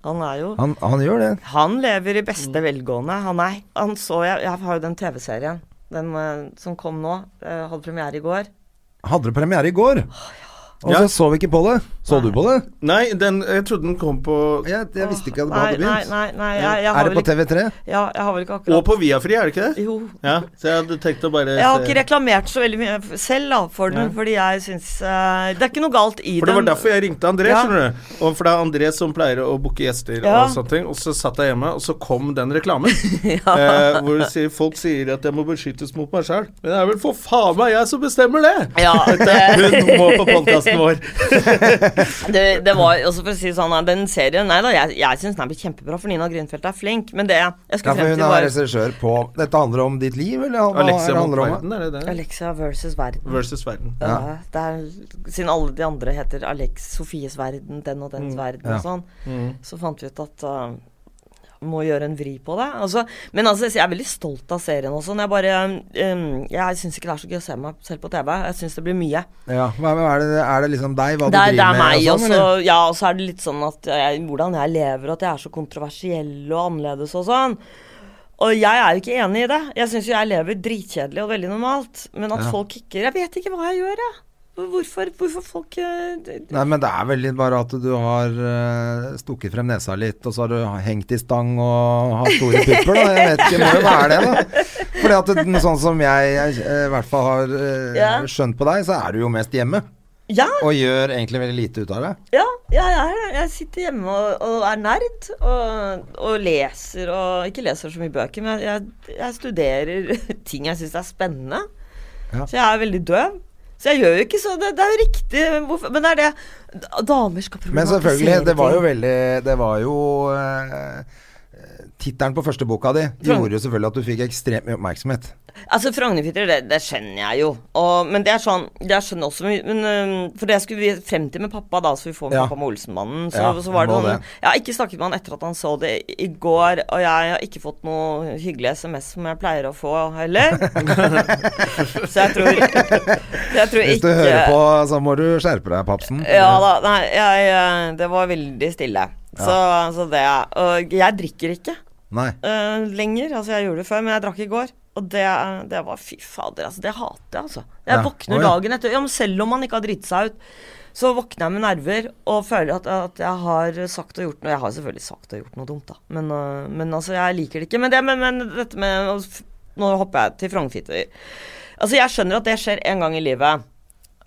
Speaker 3: Han er jo
Speaker 1: Han, han gjør det.
Speaker 3: Han lever i beste
Speaker 1: Mm.
Speaker 3: velgående. Han er han så, jeg, jeg har jo den TV-serien den eh, som kom nå. eh, hadde premiere i går.
Speaker 1: Hadde det premiere i går. Og så
Speaker 2: Ja.
Speaker 1: så vi ikke på det. Så du på det?
Speaker 2: Nei, den, jeg trodde den kom på
Speaker 1: Jeg, jeg visste ikke at det
Speaker 3: Nei,
Speaker 1: hadde
Speaker 3: nei,
Speaker 1: begynt.
Speaker 3: nei, nei jeg, jeg har
Speaker 1: Er det
Speaker 3: vel
Speaker 1: på TV3?
Speaker 3: Ikke, ja, jeg har vel ikke
Speaker 2: Og
Speaker 3: akkurat
Speaker 2: på Viafri, er det ikke det?
Speaker 3: Jo.
Speaker 2: Ja, så jeg hadde tenkt å bare
Speaker 3: Jeg har
Speaker 2: se-
Speaker 3: ikke reklamert så veldig mye f- selv da, for den,
Speaker 2: Nei.
Speaker 3: fordi jeg syns eh, Det er ikke noe galt i
Speaker 2: For det var
Speaker 3: den.
Speaker 2: derfor jeg ringte André,
Speaker 3: Ja.
Speaker 2: skjønner du. Og for det er André som pleier å booke gjester
Speaker 3: Ja.
Speaker 2: og sånne ting. Og så satt jeg hjemme, og så kom den reklamen. eh, hvor det sier, folk sier at jeg må beskyttes mot meg sjøl. Men det er vel for faen meg jeg som bestemmer det!
Speaker 3: Ja, det,
Speaker 2: Hun må på podkasten vår.
Speaker 3: det, det var også for å si det sånn, nei, den serien Nei da, jeg, jeg syns den er blitt kjempebra, for Nina Grünfeldt er flink, men det jeg
Speaker 1: Ja,
Speaker 3: skulle
Speaker 1: for
Speaker 3: frem
Speaker 1: hun altså-
Speaker 3: til,
Speaker 1: er
Speaker 3: var
Speaker 1: regissør på Dette handler om ditt liv, eller? Hva er
Speaker 2: Alexia
Speaker 1: det
Speaker 2: mot
Speaker 1: handler om?
Speaker 2: verden, er det det?
Speaker 3: Alexa versus verden.
Speaker 2: Versus verden.
Speaker 3: Ja. det er, siden alle de andre heter Alex, Sofies verden, den og dens verden og sånn, så fant vi ut at uh, må gjøre en vri på det. Altså, men altså, jeg er veldig stolt av serien også. Når jeg bare um, Jeg syns ikke det er så gøy å se meg selv på TV. Jeg syns det blir mye.
Speaker 1: Ja, hva, hva er, det, er det liksom deg, hva
Speaker 3: Det er,
Speaker 1: du
Speaker 3: det
Speaker 1: driver
Speaker 3: er meg
Speaker 1: med? og sånn,
Speaker 3: også.
Speaker 1: eller?
Speaker 3: Ja, og så er det litt sånn at jeg, hvordan jeg lever, og at jeg er så kontroversiell og annerledes og sånn. Og jeg er jo ikke enig i det. Jeg syns jo jeg lever dritkjedelig og veldig normalt. Men at folk ikke Jeg vet ikke hva jeg gjør, jeg. Hvorfor, hvorfor folk eh, d- d-
Speaker 1: Nei, men det er vel litt bare at du har eh, stukket frem nesa litt, og så har du hengt i stang og har store pupper, da. Jeg vet ikke, må jo være det, da. Fordi at den- sånn som jeg eh, i hvert fall har eh,
Speaker 3: Ja.
Speaker 1: skjønt på deg, så er du jo mest hjemme.
Speaker 3: Ja,
Speaker 1: Og gjør egentlig veldig lite ut av det.
Speaker 3: ja, jeg er det. Jeg sitter hjemme og, og er nerd. Og, og leser og Ikke leser så mye bøker, men jeg, jeg, jeg studerer ting jeg syns er spennende.
Speaker 1: Ja.
Speaker 3: Så jeg er veldig døv. Så jeg gjør jo ikke så Det, det er jo riktig. Hvorfor, men det er det da- Damer skal
Speaker 1: Men
Speaker 3: problematisere
Speaker 1: selvfølgelig, det var jo
Speaker 3: ting.
Speaker 1: veldig Det var jo eh, Tittelen på første boka di gjorde jo selvfølgelig at du fikk ekstremt mye oppmerksomhet.
Speaker 3: Altså, Frognerfitter, det, det skjønner jeg jo. Og, men det er sånn Det jeg skjønner også mye men, øhm, For det skulle vi frem til med pappa, da, så vi får med
Speaker 1: Ja.
Speaker 3: pappa med Olsenmannen. Så,
Speaker 1: Ja,
Speaker 3: så var det
Speaker 1: må
Speaker 3: sånn
Speaker 1: det.
Speaker 3: Jeg har ikke snakket med han etter at han så det i, i går, og jeg har ikke fått noe hyggelig SMS som jeg pleier å få heller. så jeg tror Jeg tror
Speaker 1: Hvis
Speaker 3: ikke
Speaker 1: du hører på, så må du skjerpe deg, Papsen.
Speaker 3: Ja da. Nei, jeg, eh, det var veldig stille. Så, så det Og jeg drikker ikke
Speaker 1: Nei.
Speaker 3: eh, lenger. Altså, jeg gjorde det før, men jeg drakk i går. Og det, det var Fy fader, altså. Det hater jeg, altså. Jeg
Speaker 1: Ja,
Speaker 3: våkner
Speaker 1: å ja.
Speaker 3: dagen etter. Ja, men selv om man ikke har driti seg ut, så våkner jeg med nerver og føler at, at jeg har sagt og gjort noe. Jeg har selvfølgelig sagt og gjort noe dumt, da. Men, eh, men altså, jeg liker det ikke. Men, det, men, men dette med å f- Nå hopper jeg til Frognerfitter. Altså, jeg skjønner at det skjer en gang i livet.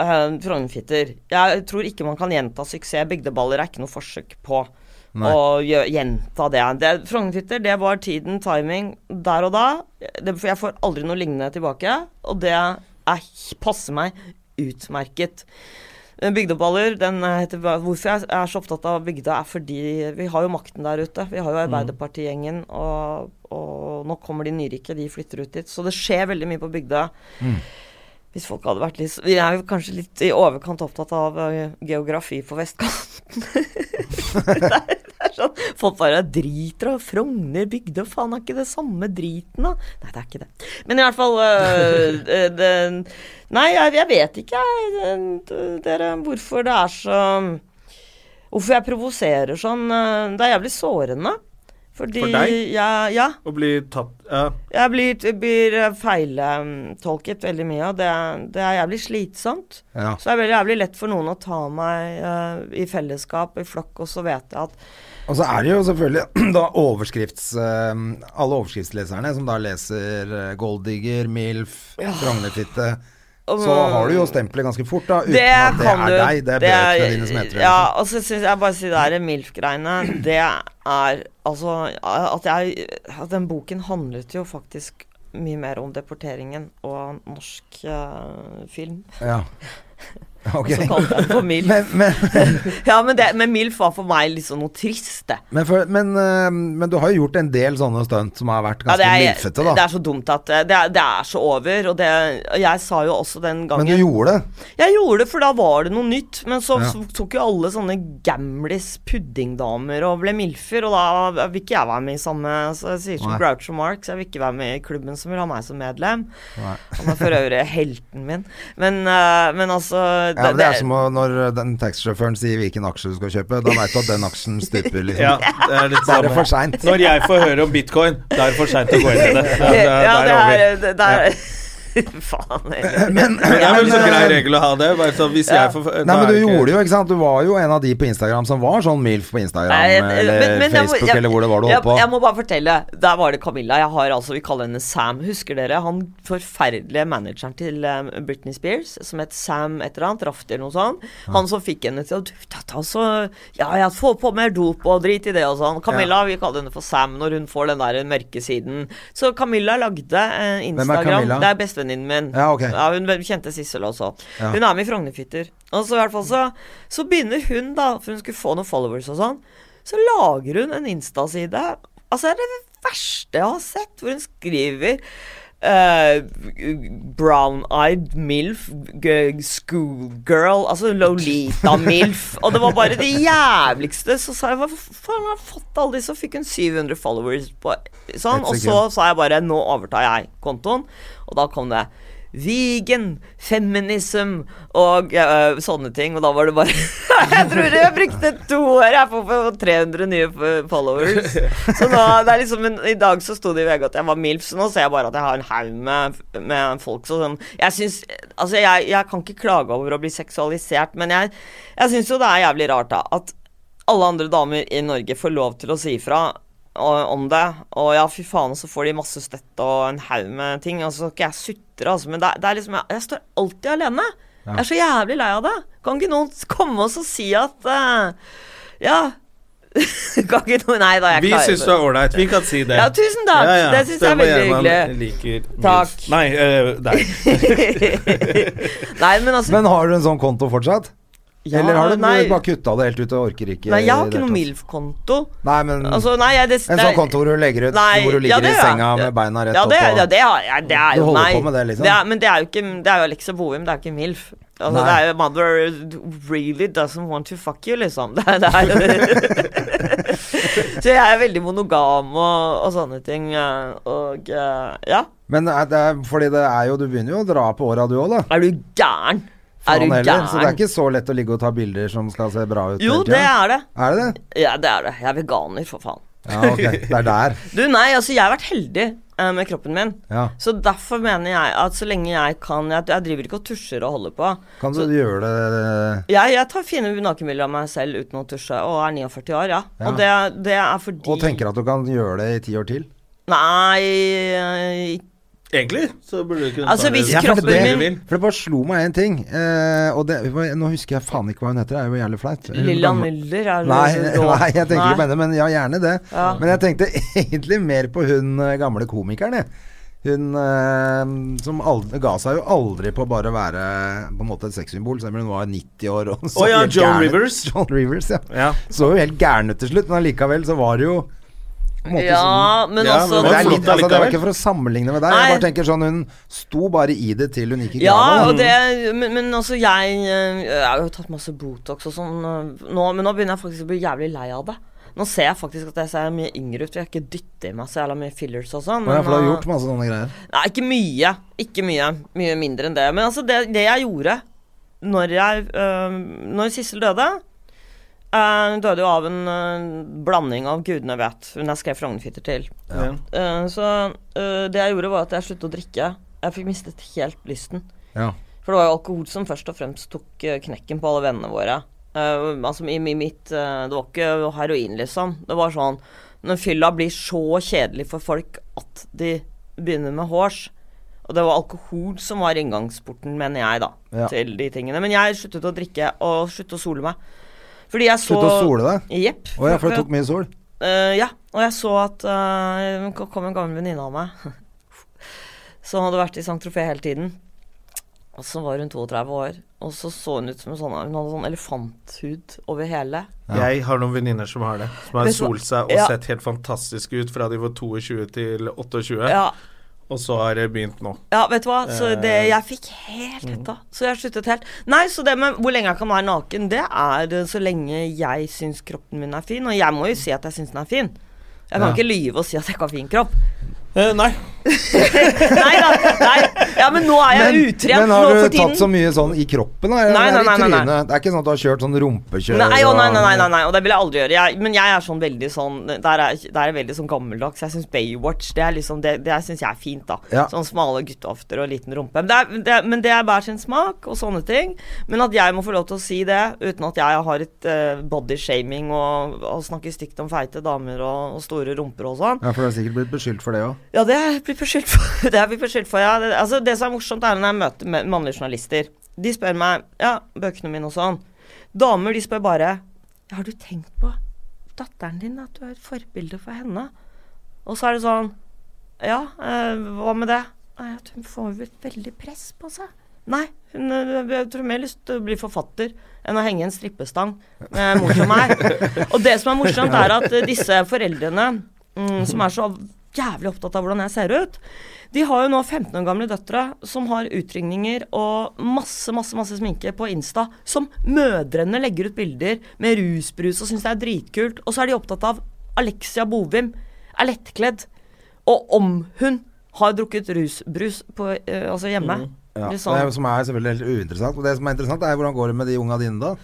Speaker 3: Uh, Frognerfitter. Jeg tror ikke man kan gjenta suksess. Bygdeballer er ikke noe forsøk på
Speaker 1: Nei.
Speaker 3: å gjø- gjenta det. det Frognerfitter, det var tiden, timing, der og da. Det, for jeg får aldri noe lignende tilbake, og det er, passer meg utmerket. Eh, Bygdeballer, den eh, heter Hvorfor jeg er så opptatt av bygda, er fordi vi har jo makten der ute. Vi har jo Arbeiderpartigjengen, og, og nå kommer de nyrike, de flytter ut dit. Så det skjer veldig mye på bygda. Hvis folk hadde vært litt Vi er jo kanskje litt i overkant opptatt av eh, geografi på vestkanten. det, er, det er sånn Folk bare driter og Frogner bygde og faen er ikke det samme driten, da. Nei, det er ikke det. Men i hvert fall eh, eh, den, Nei, jeg, jeg vet ikke, jeg, den- dere, hvorfor det er så Hvorfor jeg provoserer sånn. eh, Det er jævlig sårende. Fordi
Speaker 2: For deg?
Speaker 3: Jeg, ja.
Speaker 2: Å bli tatt Ja.
Speaker 3: Jeg blir, blir feiltolket veldig mye, og det, er- det er jævlig slitsomt.
Speaker 1: Ja.
Speaker 3: Så det er veldig jævlig lett for noen å ta meg eh, i fellesskap, i flokk, og så vet jeg at
Speaker 1: Og så er det jo selvfølgelig da overskrifts... eh, alle overskriftsleserne som da leser eh, Golddigger, MILF, Frognerfitte. Så har du jo stempelet ganske fort, da. Uten at det er deg. Det er bøkene dine som heter det.
Speaker 3: Ja,
Speaker 1: liksom.
Speaker 3: og så syns jeg bare si det der MILF-greiene, det er altså at, jeg, at den boken handlet jo faktisk mye mer om deporteringen og norsk eh, film.
Speaker 1: Ja. Ok.
Speaker 3: Så kalte jeg den for MILF.
Speaker 1: Men, men,
Speaker 3: ja, men, det, men MILF var for meg liksom noe trist, det.
Speaker 1: men, for, men, eh, men du har jo gjort en del sånne stunt som har vært
Speaker 3: Ja,
Speaker 1: ganske
Speaker 3: det er-
Speaker 1: milfete,
Speaker 3: Det
Speaker 1: da.
Speaker 3: er så dumt at eh, det er, det er så over. Og det, og jeg sa jo også den gangen
Speaker 1: Men du gjorde det.
Speaker 3: Jeg gjorde det, for da var det noe nytt. Men så,
Speaker 1: Ja.
Speaker 3: så tok jo alle sånne gamlis puddingdamer og ble milfer, og da vil ikke jeg være med i samme Så jeg sier som
Speaker 1: Nei.
Speaker 3: Groucho Marx, jeg vil ikke være med i klubben som vil ha meg som medlem.
Speaker 1: Nei.
Speaker 3: Han er for øvrig helten min. Men, eh, men altså
Speaker 1: Ja, men det er som å- når den taxisjåføren sier hvilken aksje du skal kjøpe. Da veit du at den aksjen stuper, liksom.
Speaker 2: Ja, det er
Speaker 1: Da
Speaker 2: litt
Speaker 1: er det
Speaker 2: samme.
Speaker 1: for seint.
Speaker 2: Når jeg får høre om bitcoin, da er det for seint å gå inn i det.
Speaker 3: Ja,
Speaker 2: det, er- det er over.
Speaker 3: det er, det er Faen. jeg-
Speaker 1: Men,
Speaker 2: Men det er vel
Speaker 1: men,
Speaker 2: så grei
Speaker 1: eh,
Speaker 2: regel å ha det. Bare så hvis jeg får,
Speaker 1: Nei, men du gjorde jo, ikke sant. Du var jo en av de på Instagram som var sånn MILF på Instagram
Speaker 3: Nei, jeg-
Speaker 1: eller
Speaker 3: men- men jeg må-
Speaker 1: Facebook
Speaker 3: jeg-
Speaker 1: eller hvor det var du holdt på.
Speaker 3: Jeg, jeg må bare fortelle. Der var det Camilla. Jeg har altså, Vi kaller henne Sam. Husker dere han forferdelige manageren til um, Britney Spears, som het Sam et eller annet, Rafti eller noe sånt? Han som fikk henne til å du, ta, ta, så, Ja, jeg får på mer dop og drit i det og sånn. Camilla, vi kaller henne for Sam når hun får den der mørke siden. Så Camilla lagde eh, Instagram.
Speaker 1: Camilla?
Speaker 3: Det er bestevenninnen min.
Speaker 1: Ja, ok.
Speaker 3: Ja, hun kjente Sissel også.
Speaker 1: Ja.
Speaker 3: Hun er med i Frognerfitter. Og så i hvert fall så, så begynner hun, da, for hun skulle få noen followers og sånn, så lager hun en Insta-side. Altså, det er det verste jeg har sett, hvor hun skriver eh, brown-eyed milf, g- schoolgirl Altså Lolita-milf. og det var bare det jævligste. Så sa jeg hva faen har jeg fått alle disse? Så fikk hun 700 followers på sånn.
Speaker 1: Et
Speaker 3: Og så
Speaker 1: sekund.
Speaker 3: sa jeg bare nå overtar jeg kontoen. Og da kom det vegan, feminism og eh, sånne ting. Og da var det bare Jeg tror jeg brukte to år jeg på å få 300 nye f- followers. Så nå, det er liksom en, I dag så sto det i VG at jeg var MILF, så nå ser jeg bare at jeg har en haug med, med folk så sånn Jeg syns Altså, jeg, jeg kan ikke klage over å bli seksualisert, men jeg, jeg syns jo det er jævlig rart, da, at alle andre damer i Norge får lov til å si ifra og- om det. Og ja, fy faen, og så får de masse støtte og en haug med ting. Og så skal ikke jeg sutre, altså. Men det, er- det er liksom Jeg, jeg står alltid alene. Jeg er så jævlig lei av det. Kan ikke noen komme og så si at eh, Ja. kan ikke noen Nei da, jeg
Speaker 2: Vi
Speaker 3: klarer
Speaker 2: syns du er ålreit. Vi kan si det.
Speaker 3: Ja, tusen takk. Det syns jeg er
Speaker 2: var
Speaker 3: veldig
Speaker 2: en man
Speaker 3: hyggelig.
Speaker 2: Liker minst.
Speaker 3: Takk.
Speaker 2: Nei, eh, deg.
Speaker 3: Nei, men altså
Speaker 1: Men har du en sånn konto fortsatt?
Speaker 3: ja,
Speaker 1: Eller har du
Speaker 3: nei,
Speaker 1: bare kutta det helt ut og orker ikke?
Speaker 3: nei, jeg har
Speaker 1: i
Speaker 3: ikke
Speaker 1: det
Speaker 3: noe
Speaker 1: hele
Speaker 3: MILF-konto.
Speaker 1: tatt? Nei, men
Speaker 3: Altså, nei, jeg, det,
Speaker 1: en
Speaker 3: det-
Speaker 1: sånn konto hvor du legger ut
Speaker 3: Nei,
Speaker 1: hvor du
Speaker 3: ja,
Speaker 1: ligger
Speaker 3: det
Speaker 1: i
Speaker 3: gjør jeg.
Speaker 1: senga med beina rett
Speaker 3: ja,
Speaker 1: opp
Speaker 3: det,
Speaker 1: og
Speaker 3: ja, det, har jeg- det er
Speaker 1: Du
Speaker 3: jo
Speaker 1: holder
Speaker 3: nei.
Speaker 1: på med det, liksom?
Speaker 3: er, men det er jo ikke Det er jo Alexa Bohim, det er jo ikke MILF. Altså,
Speaker 1: Nei.
Speaker 3: det er jo Mother really doesn't want to fuck you, liksom. Det, er- det er jo Så jeg er veldig monogam og, og sånne ting. eh, Og eh, ja.
Speaker 1: Men er det er, fordi det er jo Du begynner jo å dra på åra, du òg, da.
Speaker 3: Er du gæren? Er
Speaker 1: Faen
Speaker 3: du
Speaker 1: heller.
Speaker 3: gæren?
Speaker 1: Så det er ikke så lett å ligge og ta bilder som skal se bra ut.
Speaker 3: jo,
Speaker 1: hele tiden.
Speaker 3: det er det.
Speaker 1: Er det det?
Speaker 3: Ja, det er det. Jeg er veganer, for faen.
Speaker 1: Ja, ok. Det er der.
Speaker 3: Du, nei, altså, jeg har vært heldig eh, med kroppen min.
Speaker 1: Ja.
Speaker 3: Så derfor mener jeg at så lenge jeg kan Jeg, jeg driver ikke og tusjer og holder på.
Speaker 1: Kan du gjøre det eh,
Speaker 3: Jeg, jeg tar fine nakenbilder av meg selv uten å tusje, og er 49 år, ja. Og det, det er fordi
Speaker 1: Og tenker at du kan gjøre det i ti år til?
Speaker 3: Nei ikke-
Speaker 2: Egentlig så burde du kunne
Speaker 3: Altså, hvis
Speaker 2: det.
Speaker 3: kroppen
Speaker 2: det
Speaker 3: min-
Speaker 2: du vil.
Speaker 1: For det bare slo meg en ting. Eh, og det, nå husker jeg faen ikke hva hun heter, det er jo jævlig flaut. Hun
Speaker 3: Lilla
Speaker 1: gamle-
Speaker 3: Müller er
Speaker 1: Nei,
Speaker 3: det-
Speaker 1: nei, jeg tenker ikke på
Speaker 3: Nei.
Speaker 1: henne, men ja, gjerne det.
Speaker 3: Ja.
Speaker 1: Men jeg tenkte egentlig mer på hun eh, gamle komikeren, jeg. Hun eh, som aldri, ga seg jo aldri på bare å være på en måte et sexsymbol, selv om hun var 90 år. og så
Speaker 2: Å ja,
Speaker 1: helt gæren
Speaker 2: Joan
Speaker 1: ut.
Speaker 2: Rivers.
Speaker 1: Joan Rivers, ja.
Speaker 2: Ja.
Speaker 1: Så jo helt gæren ut til slutt, men allikevel så var det jo på en måte som-
Speaker 3: Ja, men
Speaker 2: Ja,
Speaker 3: altså
Speaker 2: men
Speaker 1: det, er
Speaker 2: flott
Speaker 1: litt, altså, det var
Speaker 2: allikevel.
Speaker 1: ikke for å sammenligne med deg.
Speaker 3: Nei.
Speaker 1: Jeg bare tenker sånn Hun sto bare i det til hun gikk i
Speaker 3: Ja,
Speaker 1: grava.
Speaker 3: og det, men, men altså, jeg, eh, jeg har jo tatt masse Botox og sånn eh, nå, men nå begynner jeg faktisk å bli jævlig lei av det. Nå ser jeg faktisk at jeg ser mye yngre ut, for jeg har ikke dyttet i meg så jævla mye fillers og sånn.
Speaker 1: Ja, for du har
Speaker 3: eh,
Speaker 1: gjort masse sånne greier.
Speaker 3: Nei, ikke mye. Ikke mye. Mye mindre enn det. Men altså, det, det jeg gjorde når jeg øh, Når Sissel døde øh, Hun døde jo av en øh, blanding av gudene vet. Hun jeg skrev Frognerfitter til.
Speaker 2: Ja.
Speaker 3: Eh, så øh, det jeg gjorde, var at jeg sluttet å drikke. Jeg fikk mistet helt lysten.
Speaker 1: Ja.
Speaker 3: For det var jo alkohol som først og fremst tok øh, knekken på eh, alle vennene våre. Eh, altså i, i mitt eh, Det var ikke heroin, liksom. Det var sånn Når fylla blir så kjedelig for folk at de begynner med hårs Og det var alkohol som var inngangsporten, mener jeg, da,
Speaker 1: Ja.
Speaker 3: til de tingene. Men jeg sluttet å drikke og sluttet å sole meg. Fordi jeg så
Speaker 1: Slutt å sole deg.
Speaker 3: Jepp.
Speaker 1: Å ja, for det tok mye sol.
Speaker 3: Eh, ja, og jeg så at eh, det kom en gammel venninne av meg som hadde vært i Saint-Tropez hele tiden. Og så var hun 32 år, og så så hun ut som en sånn Hun hadde sånn elefanthud over hele.
Speaker 2: Jeg har noen venninner som har det. Som har
Speaker 3: Vet du hva?
Speaker 2: solt seg og
Speaker 3: Ja.
Speaker 2: sett helt fantastiske ut fra de var 22 til 28,
Speaker 3: Ja,
Speaker 2: og så har det begynt nå.
Speaker 3: ja vet du hva. Så det,
Speaker 1: Eh.
Speaker 3: jeg fikk helt hetta. Så jeg sluttet helt. Nei, så det med hvor lenge jeg kan være naken, det er eh, så lenge jeg syns kroppen min er fin. Og jeg må jo si at jeg syns den er fin. Jeg
Speaker 1: Ja.
Speaker 3: kan ikke lyve og si at jeg ikke har fin kropp.
Speaker 2: Eh, nei.
Speaker 3: Nei da. Nei. Ja, men nå er jeg utrent
Speaker 1: men
Speaker 3: nå
Speaker 1: har du
Speaker 3: for tiden.
Speaker 1: tatt så mye sånn i kroppen? Da? Eller
Speaker 3: Nei,
Speaker 1: er det
Speaker 3: nei,
Speaker 1: i
Speaker 3: nei, nei,
Speaker 1: trynet? Det er ikke sånn at du har kjørt sånn rumpekjør?
Speaker 3: Nei, å,
Speaker 1: og-
Speaker 3: nei, nei, nei, nei, nei, og det vil jeg aldri gjøre. Jeg, men jeg er sånn veldig sånn Der er, der er jeg veldig sånn gammeldags. Jeg syns Baywatch Det er liksom Det, det syns jeg er fint, da.
Speaker 1: Ja.
Speaker 3: Sånn smale gutteofter og liten rumpe. Men det, er, det, men det er hver sin smak og sånne ting. Men at jeg må få lov til å si det uten at jeg har et eh, bodyshaming og, og snakker stygt om feite damer og, og store rumper og sånn.
Speaker 1: Ja, for du har sikkert blitt beskyldt for det òg.
Speaker 3: Ja, det er jeg blitt beskyldt for. Det er jeg blitt beskyldt for, ja. Det, altså, det som er morsomt, er når jeg møter me- mannlige journalister. De spør meg ja, bøkene mine og sånn. Damer de spør bare Har du tenkt på datteren din, at du er et forbilde for henne? Og så er det sånn Ja, eh, hva med det? Nei, at hun får jo et veldig press på seg. Nei, hun eh, jeg tror hun har mer lyst til å bli forfatter enn å henge i en strippestang med mor som meg. Og det som er morsomt, er at eh, disse foreldrene mm, som er så jævlig opptatt av hvordan jeg ser ut, de har jo nå 15 år gamle døtre som har utringninger og masse, masse masse sminke på Insta, som mødrene legger ut bilder med rusbrus og syns det er dritkult. Og så er de opptatt av Alexia Bovim er lettkledd. Og om hun har drukket rusbrus på, eh, altså hjemme.
Speaker 1: Ja.
Speaker 3: Litt
Speaker 1: Det
Speaker 3: sånn.
Speaker 1: er- som er selvfølgelig helt uinteressant. Men det som er interessant, er hvordan går det med de unga dine da?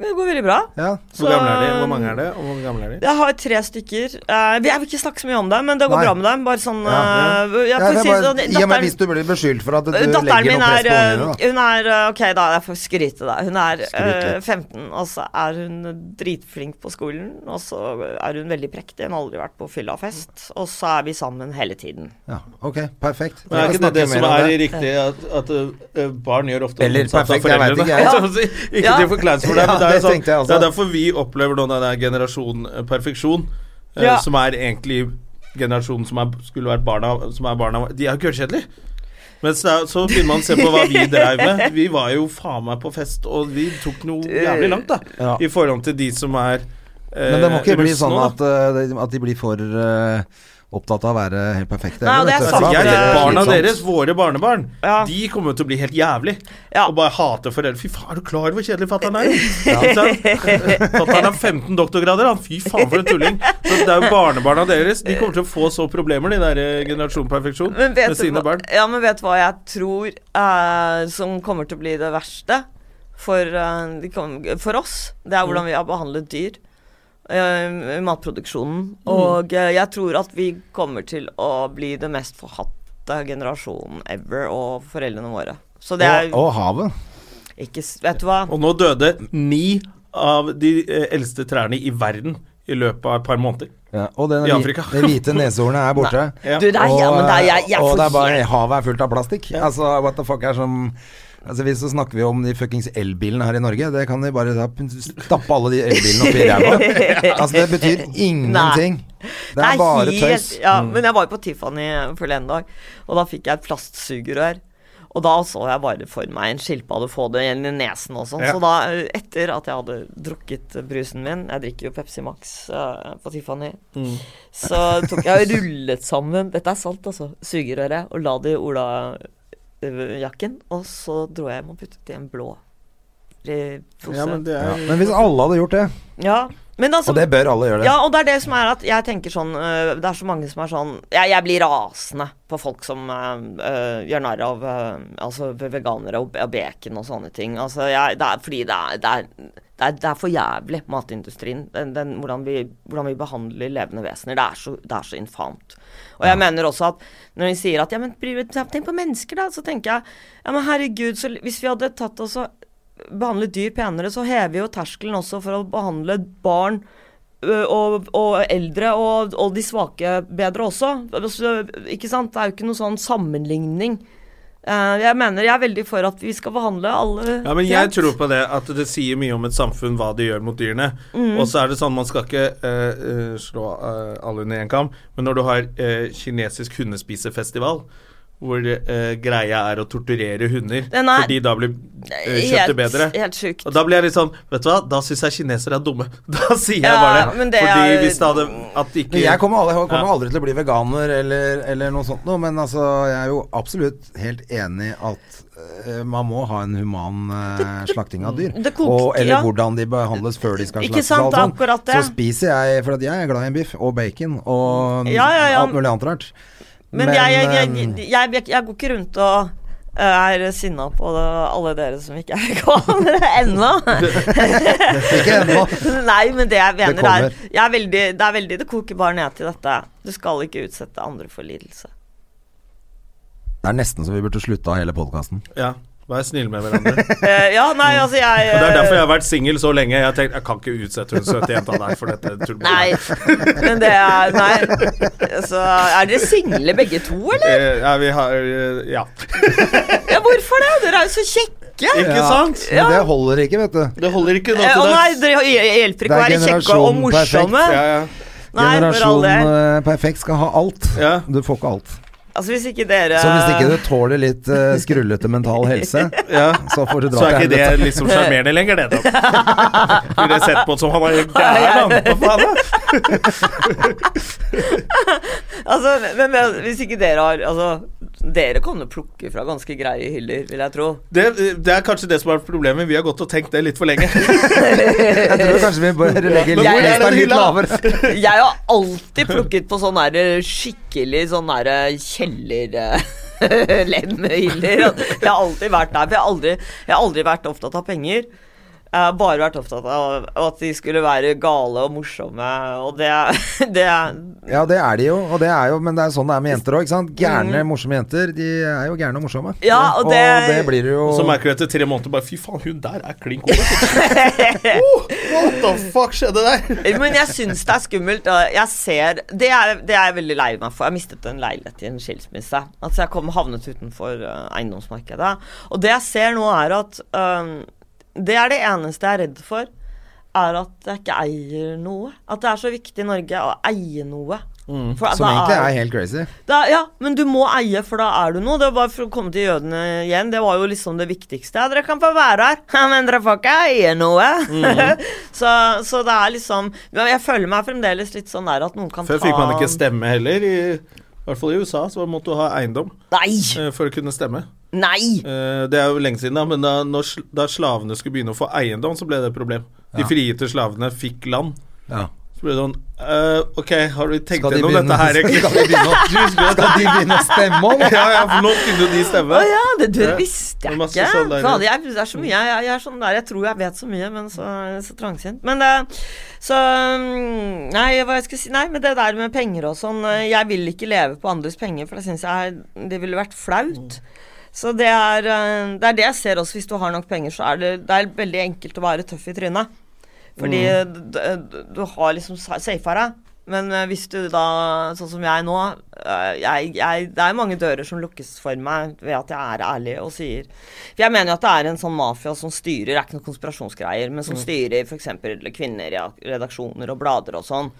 Speaker 3: Det går veldig bra.
Speaker 1: Ja.
Speaker 3: Så-
Speaker 2: Hvor
Speaker 3: eh,
Speaker 2: gamle er de? Hvor mange er det? Og hvor gamle er de?
Speaker 3: Jeg har tre stykker. Eh, jeg vil ikke snakke så mye om det, men det går
Speaker 1: Nei.
Speaker 3: bra med dem. Bare sånn
Speaker 1: Ja.
Speaker 3: eh, jeg
Speaker 1: Ja,
Speaker 3: får
Speaker 1: det er
Speaker 3: si
Speaker 1: bare,
Speaker 3: sånn,
Speaker 1: I og med
Speaker 3: datteren-
Speaker 1: hvis du blir beskyldt for at du eh, legger noe
Speaker 3: Datteren min
Speaker 1: press på
Speaker 3: er,
Speaker 1: ungene, da.
Speaker 3: eh, hun er eh, Ok, da, jeg får skryte, da. Hun er
Speaker 1: Skryt litt.
Speaker 3: eh, 15, og så er hun dritflink på skolen. Og så er hun veldig prektig. Hun har aldri vært på fyllafest. Og så er vi sammen hele tiden.
Speaker 1: Ja, ok, perfekt.
Speaker 2: Men er
Speaker 1: Vi
Speaker 2: ikke
Speaker 1: kan
Speaker 2: det det
Speaker 1: snakke
Speaker 2: som
Speaker 1: mer om
Speaker 2: er
Speaker 1: det.
Speaker 2: riktig, at, at ø, barn gjør ofte
Speaker 1: Eller
Speaker 2: motsatt av
Speaker 1: perfekt, jeg vet
Speaker 2: foreldrene?
Speaker 1: ikke, jeg.
Speaker 2: Så å si, Ikke
Speaker 3: Ja.
Speaker 2: til forkleinelse for deg,
Speaker 1: Ja,
Speaker 2: men det er,
Speaker 1: det
Speaker 2: jo sånn,
Speaker 1: tenkte jeg også.
Speaker 2: det er derfor vi opplever nå den der generasjon ø, perfeksjon, ø,
Speaker 3: Ja.
Speaker 2: som er egentlig generasjonen som er, skulle vært barna, som er barna De er jo kørkjedelige. Men så, så begynner man å se på hva vi drev med. Vi var jo faen meg på fest, og vi tok noe jævlig langt, da.
Speaker 1: Ja.
Speaker 2: I forhold til de som er eh,
Speaker 1: Men det må ikke bli sånn at, eh, at de blir for eh, opptatt av å være helt perfekte.
Speaker 3: Nei, og
Speaker 1: heller,
Speaker 3: det er
Speaker 1: vet du.
Speaker 3: sant.
Speaker 1: Da
Speaker 2: Altså, jeg,
Speaker 1: blir det
Speaker 2: barna
Speaker 1: slitsomt.
Speaker 2: deres, våre barnebarn,
Speaker 3: Ja.
Speaker 2: de kommer til å bli helt jævlig.
Speaker 3: Ja.
Speaker 2: Og bare hate foreldre. Fy faen, er du klar over hvor kjedelig fatter'n er? fatter'n har 15 doktorgrader, han. Fy faen, for en tulling. Så det er jo barnebarna deres. De kommer til å få så problemer, de der eh, generasjon perfeksjon,
Speaker 3: Men vet,
Speaker 2: med
Speaker 3: du
Speaker 2: sine
Speaker 3: hva,
Speaker 2: barn.
Speaker 3: ja, men vet du hva jeg tror eh, som kommer til å bli det verste for, eh, de kom, for oss? Det er hvordan vi har behandlet dyr eh, i matproduksjonen. Og eh, jeg tror at vi kommer til å bli det mest forhatte generasjonen ever, og foreldrene våre. Så det er
Speaker 1: Og, og havet.
Speaker 3: ikke s- Vet du hva?
Speaker 2: Og nå døde ni av de eh, eldste trærne i verden i løpet av et par måneder.
Speaker 1: Ja, og den,
Speaker 2: I Afrika.
Speaker 1: det hvite neshornet er borte.
Speaker 2: Ja.
Speaker 3: Du, det er, ja, men det er, jeg, jeg
Speaker 1: og
Speaker 3: får
Speaker 1: det er bare,
Speaker 3: helt-
Speaker 1: havet er fullt av plastikk. Altså, what the fuck er som Altså, Hvis så snakker vi om de fuckings elbilene her i Norge. Det kan de bare da p- stappe alle de elbilene oppi ræva. Altså, det betyr ingenting. Det er bare
Speaker 3: helt-
Speaker 1: tøys. Mm.
Speaker 3: Ja, Men jeg var jo på Tiffany forleden dag, og da fikk jeg et plastsugerør. Og da så jeg bare for meg en skilpadde få det igjen i nesen og sånn.
Speaker 2: Ja.
Speaker 3: Så da, eh, etter at jeg hadde drukket eh, brusen min Jeg drikker jo Pepsi Max eh, på Tiffany.
Speaker 1: Mm.
Speaker 3: Så tok jeg og rullet sammen Dette er sant, altså. Sugerøret. Og la det i olajakken. Og så dro jeg hjem og puttet det i en blå eh, pose.
Speaker 2: Ja, men det
Speaker 1: Ja.
Speaker 2: er
Speaker 1: Men hvis alle hadde gjort det,
Speaker 3: Ja, men altså
Speaker 1: og det bør alle gjøre det
Speaker 3: ja, og det er det som er at jeg tenker sånn øh, Det er så mange som er sånn Jeg, jeg blir rasende på folk som øh, øh, gjør narr av øh, altså ve- veganere og, og bacon og sånne ting. Altså, jeg, det er fordi det er, det er det er, det er for jævlig, matindustrien. Den, den, hvordan, vi, hvordan vi behandler levende vesener. Det er så, det er så infamt. Og jeg mener også at når de sier at ja, men bry- tenk på mennesker, da, så tenker jeg ja, men herregud, så hvis vi hadde tatt oss og behandle dyr penere, så hever jo terskelen også for å behandle barn ø, og, og eldre og, og de svake bedre også. Altså, Ikke sant? Det er jo ikke noen sånn sammenligning. Eh, Jeg mener jeg er veldig for at vi skal behandle alle
Speaker 2: Ja, men jeg
Speaker 3: pent.
Speaker 2: tror på det at det sier mye om et samfunn hva de gjør mot dyrene.
Speaker 3: Mm.
Speaker 2: Og så er det sånn, man skal ikke eh, eh, slå eh, alle under én kam, men når du har eh, kinesisk hundespisefestival hvor eh, greia er å torturere hunder
Speaker 3: Den er-
Speaker 2: fordi da blir eh, kjøttet bedre.
Speaker 3: Helt, helt sjukt.
Speaker 2: Og da blir jeg litt sånn Vet du hva, da syns jeg kinesere er dumme. Da sier jeg
Speaker 3: Ja,
Speaker 2: bare det.
Speaker 3: men det
Speaker 2: Fordi
Speaker 3: er-
Speaker 2: hvis det hadde At de ikke
Speaker 1: Men jeg kommer, aldri, jeg kommer
Speaker 2: Ja.
Speaker 1: aldri til å bli veganer eller, eller noe sånt noe, men altså, jeg er jo absolutt helt enig at eh, man må ha en human eh, slakting av dyr.
Speaker 3: det kokte-
Speaker 1: og, eller
Speaker 3: ja.
Speaker 1: hvordan de behandles før de skal
Speaker 3: Ikke
Speaker 1: slaktes.
Speaker 3: sant,
Speaker 1: og alt
Speaker 3: det er
Speaker 1: sånt.
Speaker 3: akkurat det.
Speaker 1: Så spiser jeg, for at jeg er glad i en biff og bacon og
Speaker 3: Ja, ja, ja.
Speaker 1: alt mulig annet rart.
Speaker 3: Men, jeg, jeg, jeg,
Speaker 1: eh,
Speaker 3: jeg, jeg, jeg går ikke rundt og eh, er sinna på det, alle dere som ikke er veganere ennå.
Speaker 1: eh, Ikke ennå.
Speaker 3: Nei, men det jeg mener
Speaker 1: kommer.
Speaker 3: er, jeg er veldig, Det er veldig Det koker bare ned til dette. Du skal ikke utsette andre for lidelse.
Speaker 1: Det er nesten så vi burde slutte av hele podkasten.
Speaker 2: Ja, vær snille med hverandre.
Speaker 3: Eh, ja, nei,
Speaker 1: Mm.
Speaker 3: altså jeg
Speaker 2: Og Det er
Speaker 3: eh,
Speaker 2: derfor jeg har vært singel så lenge. Jeg har tenkt, jeg kan ikke utsette hun søte jenta der for dette tullbullet.
Speaker 3: eh, Nei, men det er Nei. Så er dere single begge to, eller?
Speaker 2: Eh, ja, vi har eh, Ja.
Speaker 3: Ja, hvorfor det? Dere er jo så kjekke.
Speaker 2: Ikke sant?
Speaker 1: Men det holder ikke, vet du.
Speaker 2: Det holder ikke nå
Speaker 3: Eh, Å
Speaker 2: til
Speaker 3: nei,
Speaker 2: dags.
Speaker 3: dere hjelper
Speaker 1: Det
Speaker 3: ikke å
Speaker 1: er
Speaker 3: være kjekke og
Speaker 1: generasjon
Speaker 3: morsomme.
Speaker 2: Ja, ja.
Speaker 3: Nei, for all
Speaker 1: Generasjon
Speaker 3: del.
Speaker 1: eh, perfekt skal ha alt.
Speaker 2: Ja.
Speaker 1: Du får ikke alt.
Speaker 3: Altså, hvis ikke dere
Speaker 1: Så hvis ikke du tåler litt eh, skrullete mental helse,
Speaker 2: Ja.
Speaker 1: så får du
Speaker 2: Så
Speaker 1: dra
Speaker 2: er
Speaker 1: til
Speaker 2: ikke det
Speaker 1: helvete.
Speaker 2: liksom sjarmerende lenger, det. da. Blir det sett på som han er helt gæren, han. Hva faen, da?
Speaker 3: Altså, men, men hvis ikke dere har Altså, dere kan jo plukke fra ganske greie hyller, vil jeg tro.
Speaker 2: Det, det er kanskje det som er problemet. Vi har gått og tenkt det litt for lenge.
Speaker 1: Jeg tror kanskje vi bør legge
Speaker 2: Men hvor er
Speaker 1: lista
Speaker 2: den
Speaker 1: litt
Speaker 2: hylla?
Speaker 1: lavere.
Speaker 3: Jeg har alltid plukket på sånn der skikkelig sånn der kjeller... Lemhyller. Jeg har alltid vært der. For jeg har aldri, jeg har aldri vært opptatt av penger. Jeg har bare vært opptatt av at de skulle være gale og morsomme, og det, det
Speaker 1: Ja, det er de jo, og det er jo, men det er sånn det er med jenter òg, ikke sant. Gærne, morsomme jenter, de er jo gærne og morsomme.
Speaker 3: Mm. Ja, og det-
Speaker 1: blir det jo
Speaker 2: Så merker du etter tre måneder bare Fy faen, hun der er klin god. Oh, what the fuck skjedde der?
Speaker 3: Men jeg syns det er skummelt. Og jeg ser det er, det er jeg veldig lei meg for. Jeg mistet en leilighet i en skilsmisse. Altså Jeg kom havnet utenfor eh, eiendomsmarkedet. Og det jeg ser nå, er at øhm, Det er det eneste jeg er redd for. Er at jeg ikke eier noe. At det er så viktig i Norge å eie noe. For
Speaker 1: Mm, Som
Speaker 3: da
Speaker 1: egentlig er helt crazy.
Speaker 3: da, ja, men du må eie, for da er du noe. Det var for å komme til jødene igjen. Det var jo liksom det viktigste. Ja, dere kan få være her, Ja, men dere får ikke eie noe.
Speaker 2: Mhm.
Speaker 3: så, så det er liksom ja, Jeg føler meg fremdeles litt sånn der at noen kan
Speaker 2: Før
Speaker 3: ta
Speaker 2: fikk man ikke stemme heller. I, i hvert fall i USA så måtte du ha eiendom
Speaker 3: Nei!
Speaker 2: eh, for å kunne stemme.
Speaker 3: Nei!
Speaker 2: Eh, Det er jo lenge siden, da, men da, når, sl- da slavene skulle begynne å få eiendom, så ble det et problem. De frigitte slavene fikk land.
Speaker 1: Ja.
Speaker 2: Så ble det sånn eh, Ok, har du tenkt
Speaker 1: Skal de
Speaker 2: gjennom
Speaker 1: begynne-
Speaker 2: dette her,
Speaker 1: skal de
Speaker 2: egentlig?
Speaker 1: begynne å- Skal de begynne å stemme om?
Speaker 2: ja, ja, for nå kunne jo de stemme.
Speaker 3: Å ja, det, det
Speaker 2: Ja.
Speaker 3: visste
Speaker 2: Det er
Speaker 3: jeg
Speaker 2: masse
Speaker 3: ikke.
Speaker 2: sånn der.
Speaker 3: Fader, jeg, det er så mye. Jeg, jeg er sånn der, jeg tror jeg vet så mye, men så, så trangsynt. Men det Så mm, Nei, hva jeg skulle si Nei, men det der med penger og sånn eh, Jeg vil ikke leve på andres penger, for det syns jeg er- det ville vært flaut. Så det er, eh, det er det jeg ser også. Hvis du har nok penger, så er det, det er veldig enkelt å være tøff i trynet. Fordi
Speaker 2: Mm.
Speaker 3: d- d- du har liksom sa- safa deg. Men eh, hvis du da, sånn som jeg nå eh, jeg, jeg, Det er mange dører som lukkes for meg ved at jeg er ærlig og sier For jeg mener jo at det er en sånn mafia som styrer, det er ikke noen konspirasjonsgreier, men som
Speaker 2: Mm.
Speaker 3: styrer f.eks. kvinner i redaksjoner og blader og sånn.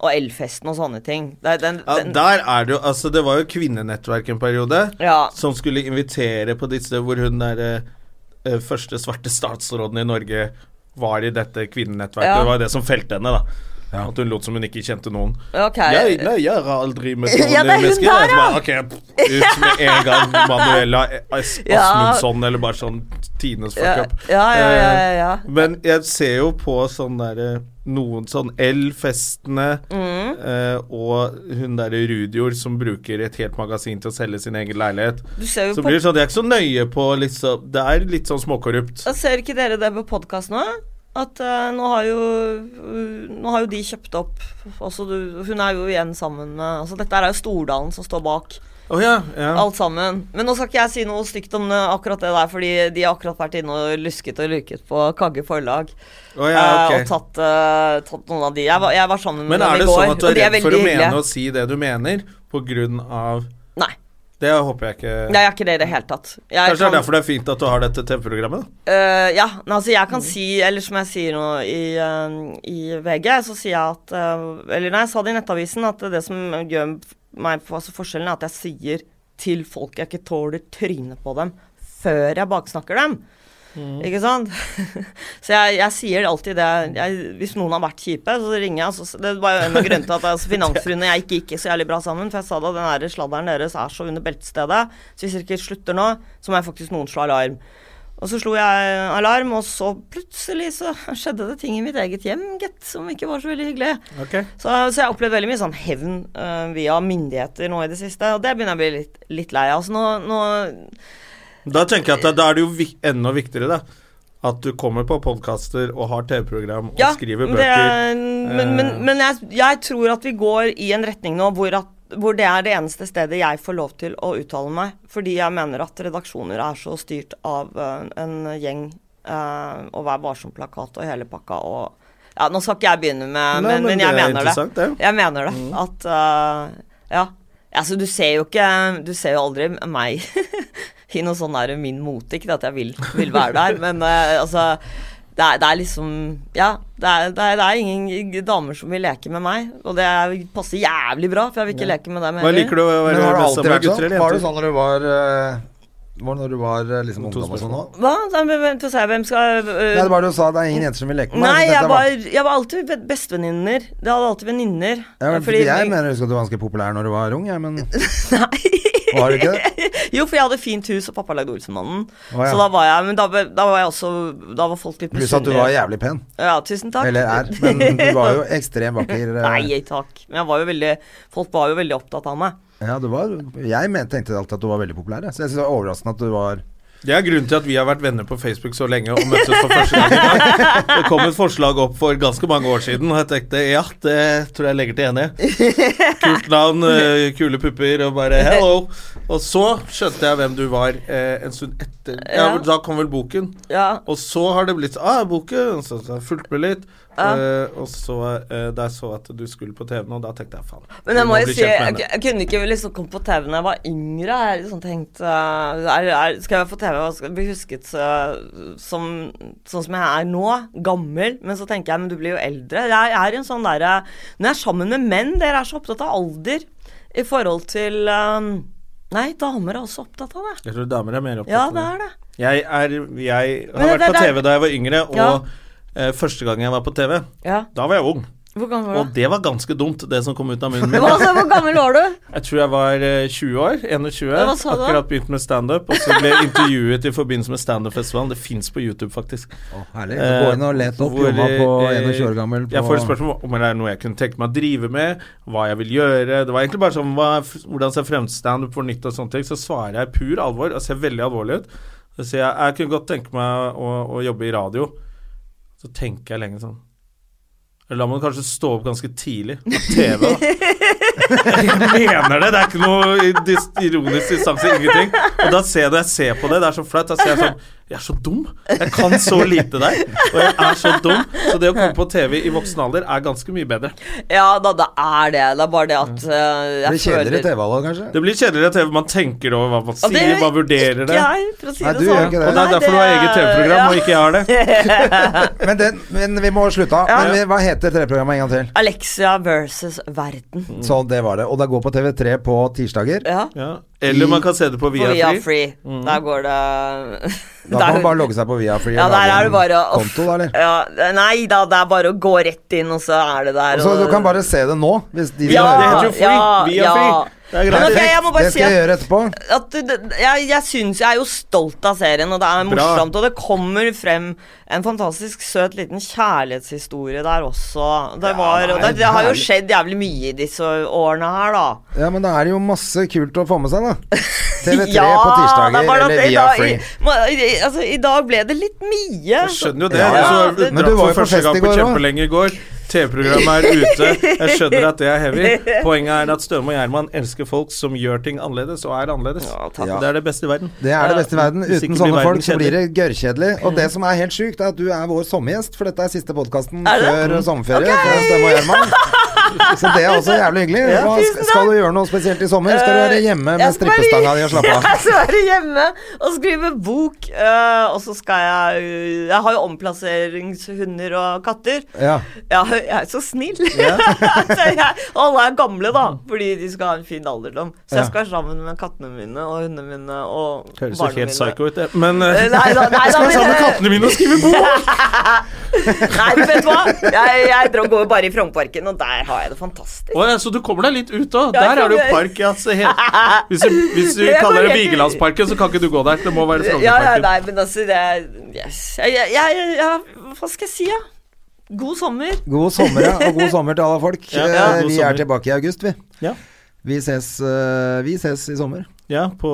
Speaker 3: Og Elfesten og sånne ting. Det, er den,
Speaker 2: Ja,
Speaker 3: den,
Speaker 2: der er det jo Altså, det var jo kvinnenettverk en periode
Speaker 3: Ja.
Speaker 2: som skulle invitere på disse hvor hun derre første svarte statsråden i Norge var i dette kvinnenettverket.
Speaker 3: Ja.
Speaker 2: Det var jo det som felte henne, da. At hun lot som hun ikke kjente noen.
Speaker 3: Ok.
Speaker 2: Jeg, nei, jeg har aldri møtt noen
Speaker 3: Ja, det er hun
Speaker 2: mennesker.
Speaker 3: der,
Speaker 2: jeg bare, ok, ut med en gang Manuela As
Speaker 3: Ja.
Speaker 2: Asmundsson, eller bare sånn Tines fuck
Speaker 3: Ja,
Speaker 2: up.
Speaker 3: ja, ja, ja, ja, ja.
Speaker 2: Eh, Men jeg ser jo på sånn derre Noen sånn L-festene
Speaker 3: Mm.
Speaker 2: eh, og hun derre Rudior som bruker et helt magasin til å selge sin egen leilighet.
Speaker 3: Du ser jo
Speaker 2: Så
Speaker 3: på-
Speaker 2: blir det sånn, jeg er ikke så nøye på liksom Det er litt sånn småkorrupt.
Speaker 3: Ser ikke dere det på podkast nå? At eh, nå, har jo, eh, nå har jo de kjøpt opp altså, du, Hun er jo igjen sammen med altså, Dette er jo Stordalen som står bak
Speaker 2: Å ja, ja.
Speaker 3: alt sammen. Men nå skal ikke jeg si noe stygt om eh, akkurat det der, fordi de har akkurat vært inne og lusket og luket på Kagge forlag.
Speaker 2: Å ja,
Speaker 3: eh,
Speaker 2: ok.
Speaker 3: og tatt, eh, tatt noen av de. Jeg var, jeg var sammen med
Speaker 2: Men
Speaker 3: dem
Speaker 2: er
Speaker 3: i
Speaker 2: det
Speaker 3: går.
Speaker 2: sånn at du
Speaker 3: og
Speaker 2: er
Speaker 3: de
Speaker 2: redd for å
Speaker 3: veldig
Speaker 2: mene
Speaker 3: hyggelige.
Speaker 2: og si det du mener, på grunn av
Speaker 3: Nei.
Speaker 2: Det håper jeg ikke
Speaker 3: Nei, jeg er sånn- ikke det i det hele tatt. Jeg
Speaker 2: Kanskje det er
Speaker 3: kan-
Speaker 2: derfor det er fint at du har dette TV-programmet? da?
Speaker 3: Eh, ja, men altså jeg kan si, eller som jeg sier nå i, eh, i VG, så sier jeg at eh, Eller nei, jeg sa det i Nettavisen, at det som gjør meg altså forskjellen, er at jeg sier til folk jeg ikke tåler trynet på dem, før jeg baksnakker dem. Ikke sant? så jeg, jeg sier alltid det jeg, Hvis noen har vært kjipe, så ringer jeg. Så, det var jo en av grunnene til at altså, Finansfruen og jeg gikk ikke så jævlig bra sammen. For jeg sa da den der sladderen deres er så under beltestedet. Så hvis dere ikke slutter nå, så må jeg faktisk noen slå alarm. Og så slo jeg alarm, og så plutselig så skjedde det ting i mitt eget hjem, gitt, som ikke var så veldig hyggelig.
Speaker 2: Ok.
Speaker 3: Så, så jeg har opplevd veldig mye sånn hevn eh, via myndigheter nå i det siste, og det begynner jeg å bli litt, litt lei av. Så nå, nå
Speaker 2: Da tenker jeg at da, da er det jo vi enda viktigere, da. At du kommer på podkaster og har TV-program og skriver
Speaker 3: men
Speaker 2: bøker. Eh.
Speaker 3: det er- men men, men jeg, jeg tror at vi går i en retning nå hvor, at, hvor det er det eneste stedet jeg får lov til å uttale meg, fordi jeg mener at redaksjoner er så styrt av eh, en gjeng eh, og Vær varsom-plakat og hele pakka og Ja, nå skal ikke jeg begynne med
Speaker 2: Nei,
Speaker 3: Men, men
Speaker 2: det
Speaker 3: jeg
Speaker 2: er
Speaker 3: mener det.
Speaker 2: interessant, det.
Speaker 3: Jeg mener det.
Speaker 1: Mm.
Speaker 3: At eh, Ja. Altså, du ser jo ikke Du ser jo aldri meg i noe sånn der min mote. Ikke at jeg vil, vil være der, men eh, altså det er, det er liksom Ja, det er, det, er, det er ingen damer som vil leke med meg. Og det er- passer jævlig bra, for jeg vil ikke leke med dem
Speaker 2: Hva liker du å
Speaker 1: Men
Speaker 2: være
Speaker 1: har det alltid
Speaker 2: mest sammen med
Speaker 1: vært
Speaker 2: gutter
Speaker 1: sånn? Var det sånn når
Speaker 2: eller jenter?
Speaker 1: du var eh, Var det når du var eh, liksom
Speaker 2: To
Speaker 1: ungdom og sånn
Speaker 2: spørsmål.
Speaker 1: òg?
Speaker 3: Hva? Da, vent, vent, få se, hvem skal øh,
Speaker 1: Nei, det var det du sa, det er ingen jenter som vil leke med meg.
Speaker 3: Nei,
Speaker 1: så dette
Speaker 3: jeg
Speaker 1: var-
Speaker 3: var, jeg var alltid be- bestevenninner. Det hadde alltid venninner.
Speaker 1: ja, men,
Speaker 3: Fordi-
Speaker 1: Jeg mener jeg husker at du var ganske populær når du var ung, jeg, men
Speaker 3: Nei.
Speaker 1: var du ikke det?
Speaker 3: Jo, for jeg hadde fint hus, og pappa lagde Olsenmannen.
Speaker 1: Å, ja.
Speaker 3: Så da var jeg Men da, be- da var jeg også Da var folk litt
Speaker 1: Pluss at du var jævlig pen.
Speaker 3: Ja, tusen takk.
Speaker 1: Eller er. Men du var jo ekstremt vakker. eh,
Speaker 3: Nei, takk. Men jeg var jo veldig Folk var jo veldig opptatt av meg.
Speaker 1: Ja, du var Jeg men, tenkte alltid at du var veldig populær, jeg. så jeg syns det var overraskende at du var
Speaker 2: Det er grunnen til at vi har vært venner på Facebook så lenge og møttes for første gang i dag. Det kom et forslag opp for ganske mange år siden, og jeg tenkte ja, det tror jeg legger til enig. Kult navn, eh, kule pupper og bare hello. Og så skjønte jeg hvem du var eh, en stund etter. Ja,
Speaker 3: Ja.
Speaker 2: da kom vel boken.
Speaker 3: Ja.
Speaker 2: Og så har det blitt ah, boken, så, så har jeg fulgt med litt. eh, og så eh, da jeg så at du skulle på TV-en, og da tenkte jeg faen.
Speaker 3: Men jeg
Speaker 2: vi
Speaker 3: må jo
Speaker 2: bli
Speaker 3: si,
Speaker 2: kjent med
Speaker 3: jeg,
Speaker 2: henne.
Speaker 3: jeg kunne ikke liksom komme på TV når jeg var yngre. Jeg har liksom tenkt eh, er, er, Skal jeg på TV og skal bli husket eh, som, sånn som jeg er nå? Gammel. Men så tenker jeg, men du blir jo eldre. Jeg er en sånn derre Når jeg er sammen med menn, dere er så opptatt av alder i forhold til eh, Nei, damer er også opptatt av det.
Speaker 2: Jeg tror damer er mer opptatt
Speaker 3: Ja,
Speaker 2: av
Speaker 3: det er det.
Speaker 2: Jeg, er, jeg har
Speaker 3: Men det-
Speaker 2: vært på
Speaker 3: det- det-
Speaker 2: TV da jeg var yngre, og
Speaker 3: Ja.
Speaker 2: eh, første gang jeg var på TV,
Speaker 3: Ja.
Speaker 2: da var jeg ung.
Speaker 3: Hvor gammel var
Speaker 2: Og
Speaker 3: du?
Speaker 2: det var ganske dumt, det som kom ut av munnen min.
Speaker 3: Hva, altså, hvor gammel var du?
Speaker 2: Jeg tror jeg var eh, 20 år. 21.
Speaker 3: Ja, hva sa du da?
Speaker 2: akkurat begynt med standup. Og så ble jeg intervjuet i forbindelse med standup-festivalen. Det fins på YouTube, faktisk.
Speaker 1: Å, herlig. Du går inn og let opp
Speaker 2: Eh, Hvor,
Speaker 1: jobba på
Speaker 2: eh,
Speaker 1: 21 år gammel på
Speaker 2: Jeg får et spørsmål om det er noe jeg kunne tenke meg å drive med, hva jeg vil gjøre. Det var egentlig bare sånn hva, hvordan ser fremstandup for nytt og sånne ting. Så svarer jeg i pur alvor og ser veldig alvorlig ut. Så sier jeg jeg kunne godt tenke meg å, å jobbe i radio. Så tenker jeg lenge sånn Eller da må du kanskje stå opp ganske tidlig. På TV, da. Jeg mener det! Det er ikke noe dis ironisk distanse, ingenting. Og da ser jeg når jeg ser på det, det er så flaut. Da ser jeg sånn Jeg er så dum! Jeg kan så lite der, og jeg er så dum. Så det å komme på TV i voksen alder er ganske mye bedre.
Speaker 3: Ja da, det er det. Det er bare det at uh, jeg
Speaker 1: Blir kjedeligere TV-valg, kanskje?
Speaker 2: Det blir kjedeligere TV, man tenker over hva man
Speaker 3: Og det
Speaker 2: sier, man
Speaker 3: gjør
Speaker 2: vurderer
Speaker 3: ikke
Speaker 2: det.
Speaker 3: jeg, for å si
Speaker 1: Nei,
Speaker 3: det
Speaker 1: du gjør
Speaker 3: sånn.
Speaker 1: ikke det.
Speaker 2: Og det er derfor du har eget TV-program, og ikke jeg har det.
Speaker 1: Men, den, men vi må slutte av.
Speaker 3: Ja.
Speaker 1: Men vi- Hva heter TV-programmet en gang til?
Speaker 3: Alexia versus verden.
Speaker 1: Så det var det. Og det går på TV3 på tirsdager.
Speaker 3: Mm. Ja.
Speaker 2: Ja. Mm. Eller man kan se det på
Speaker 3: På Via
Speaker 2: Viafree.
Speaker 3: Free. Der går det
Speaker 1: Da kan man bare logge seg på Viafree
Speaker 3: Ja,
Speaker 1: og
Speaker 3: der
Speaker 1: lage
Speaker 3: er det bare å
Speaker 1: en konto, da, eller?
Speaker 3: Ja, nei da, det er bare å gå rett inn, og så er det der.
Speaker 1: Så
Speaker 3: og-
Speaker 1: du kan bare se det nå. Hvis de
Speaker 2: Ja,
Speaker 1: som
Speaker 2: det
Speaker 1: hører
Speaker 2: heter
Speaker 1: på.
Speaker 2: jo Free. Via Free. Det er greit.
Speaker 3: Men ok, jeg må bare
Speaker 1: det
Speaker 3: si
Speaker 1: skal jeg
Speaker 3: at,
Speaker 1: gjøre etterpå.
Speaker 3: at det, det- jeg, jeg syns jeg er jo stolt av serien, og det er morsomt. Og det kommer frem en fantastisk søt liten kjærlighetshistorie der også. Det, var, og det, det har jo skjedd jævlig mye i disse årene her, da.
Speaker 1: Ja, men da er det jo masse kult å få med seg, da. TV3 på tirsdager
Speaker 3: det var nok-
Speaker 1: eller
Speaker 3: i
Speaker 1: via
Speaker 3: dag-
Speaker 1: Free.
Speaker 3: i- må- i- Altså, I dag ble det litt mye.
Speaker 2: Jeg skjønner jo det.
Speaker 1: Ja, ja.
Speaker 2: Jeg så,
Speaker 1: Men du
Speaker 2: dratt
Speaker 1: var jo
Speaker 2: for
Speaker 1: på
Speaker 2: første
Speaker 1: fest
Speaker 2: gang
Speaker 1: i
Speaker 2: på
Speaker 1: går også.
Speaker 2: kjempelenge i går. TV-programmet er ute. Jeg skjønner at det er heavy. Poenget er at Støme og Gjerman elsker folk som gjør ting annerledes, og er annerledes.
Speaker 3: Ja, takk.
Speaker 2: Det er det beste i verden. Eh,
Speaker 1: Det er det beste i verden.
Speaker 2: Hvis
Speaker 1: Uten
Speaker 2: ikke blir
Speaker 1: sånne
Speaker 2: verden Mm.
Speaker 1: folk så blir det gørrkjedelig. Og det som er helt sjukt, er at du er vår sommergjest, for dette er siste podkasten
Speaker 3: Er det?
Speaker 1: før sommerferie. fra Stemme og Gjerman. Så det er også jævlig hyggelig. Hva,
Speaker 3: tusen Eh,
Speaker 1: skal- skal du gjøre noe spesielt i sommer? Skal du være hjemme med
Speaker 3: Jeg skal være-
Speaker 1: strippestanga di og slappe av?
Speaker 3: Jeg skal være hjemme og skrive bok, eh, og så skal jeg eh, Jeg har jo omplasseringshunder og katter.
Speaker 1: Ja.
Speaker 3: Ja, jeg er så snill. så jeg, og alle er gamle, da, fordi de skal ha en fin alderdom. Så jeg
Speaker 1: Ja.
Speaker 3: skal være sammen med kattene mine og hundene mine og
Speaker 2: Høres jo
Speaker 3: barna
Speaker 2: helt
Speaker 3: mine.
Speaker 2: psycho ut, det. Men eh,
Speaker 3: Eh, Nei da, nei da.
Speaker 2: jeg er sammen med
Speaker 3: men-
Speaker 2: kattene mine og skriver bok!
Speaker 3: Nei, men vet du hva? Jeg, jeg drar- går bare i Frognerparken, og der har jeg det fantastisk.
Speaker 2: Å ja, så du kommer deg litt ut òg.
Speaker 3: Ja, jeg
Speaker 2: Der er det jo
Speaker 3: kommer-
Speaker 2: park. Ja, se helt. Hvis, du, hvis du
Speaker 3: Jeg
Speaker 2: kaller
Speaker 3: går
Speaker 2: det
Speaker 3: helt-
Speaker 2: Vigelandsparken, så kan ikke du gå der. Det må være
Speaker 3: Ja, ja,
Speaker 2: Frognerparken.
Speaker 3: nei, men altså, det er yes. jeg, jeg, jeg, jeg, Hva skal jeg si, da? God sommer.
Speaker 1: God sommer, ja. Og god sommer til alle folk.
Speaker 2: Ja, ja,
Speaker 1: Eh,
Speaker 2: god
Speaker 1: Vi
Speaker 2: sommer.
Speaker 1: er tilbake i august, vi.
Speaker 2: Ja.
Speaker 1: Vi ses, eh, vi ses i sommer.
Speaker 2: Ja, på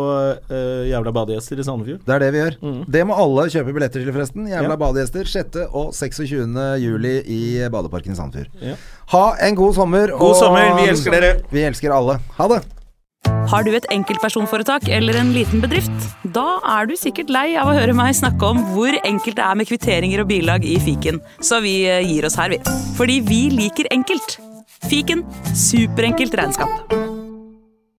Speaker 2: eh, Jævla badegjester i Sandefjord.
Speaker 1: Det er det vi gjør. Det må alle kjøpe billetter til, forresten. Jævla
Speaker 2: Mm. Ja.
Speaker 1: badegjester 6. og 26. juli i Badeparken i Sandefjord.
Speaker 2: Ja.
Speaker 1: Ha en god sommer.
Speaker 2: God sommer, vi elsker dere.
Speaker 1: Vi elsker alle. Ha det.
Speaker 5: Har du et enkeltpersonforetak eller en liten bedrift? Da er du sikkert lei av å høre meg snakke om hvor enkelt det er med kvitteringer og bilag i fiken, så eh, vi gir oss her, vi. Fordi vi liker enkelt. Fiken superenkelt regnskap.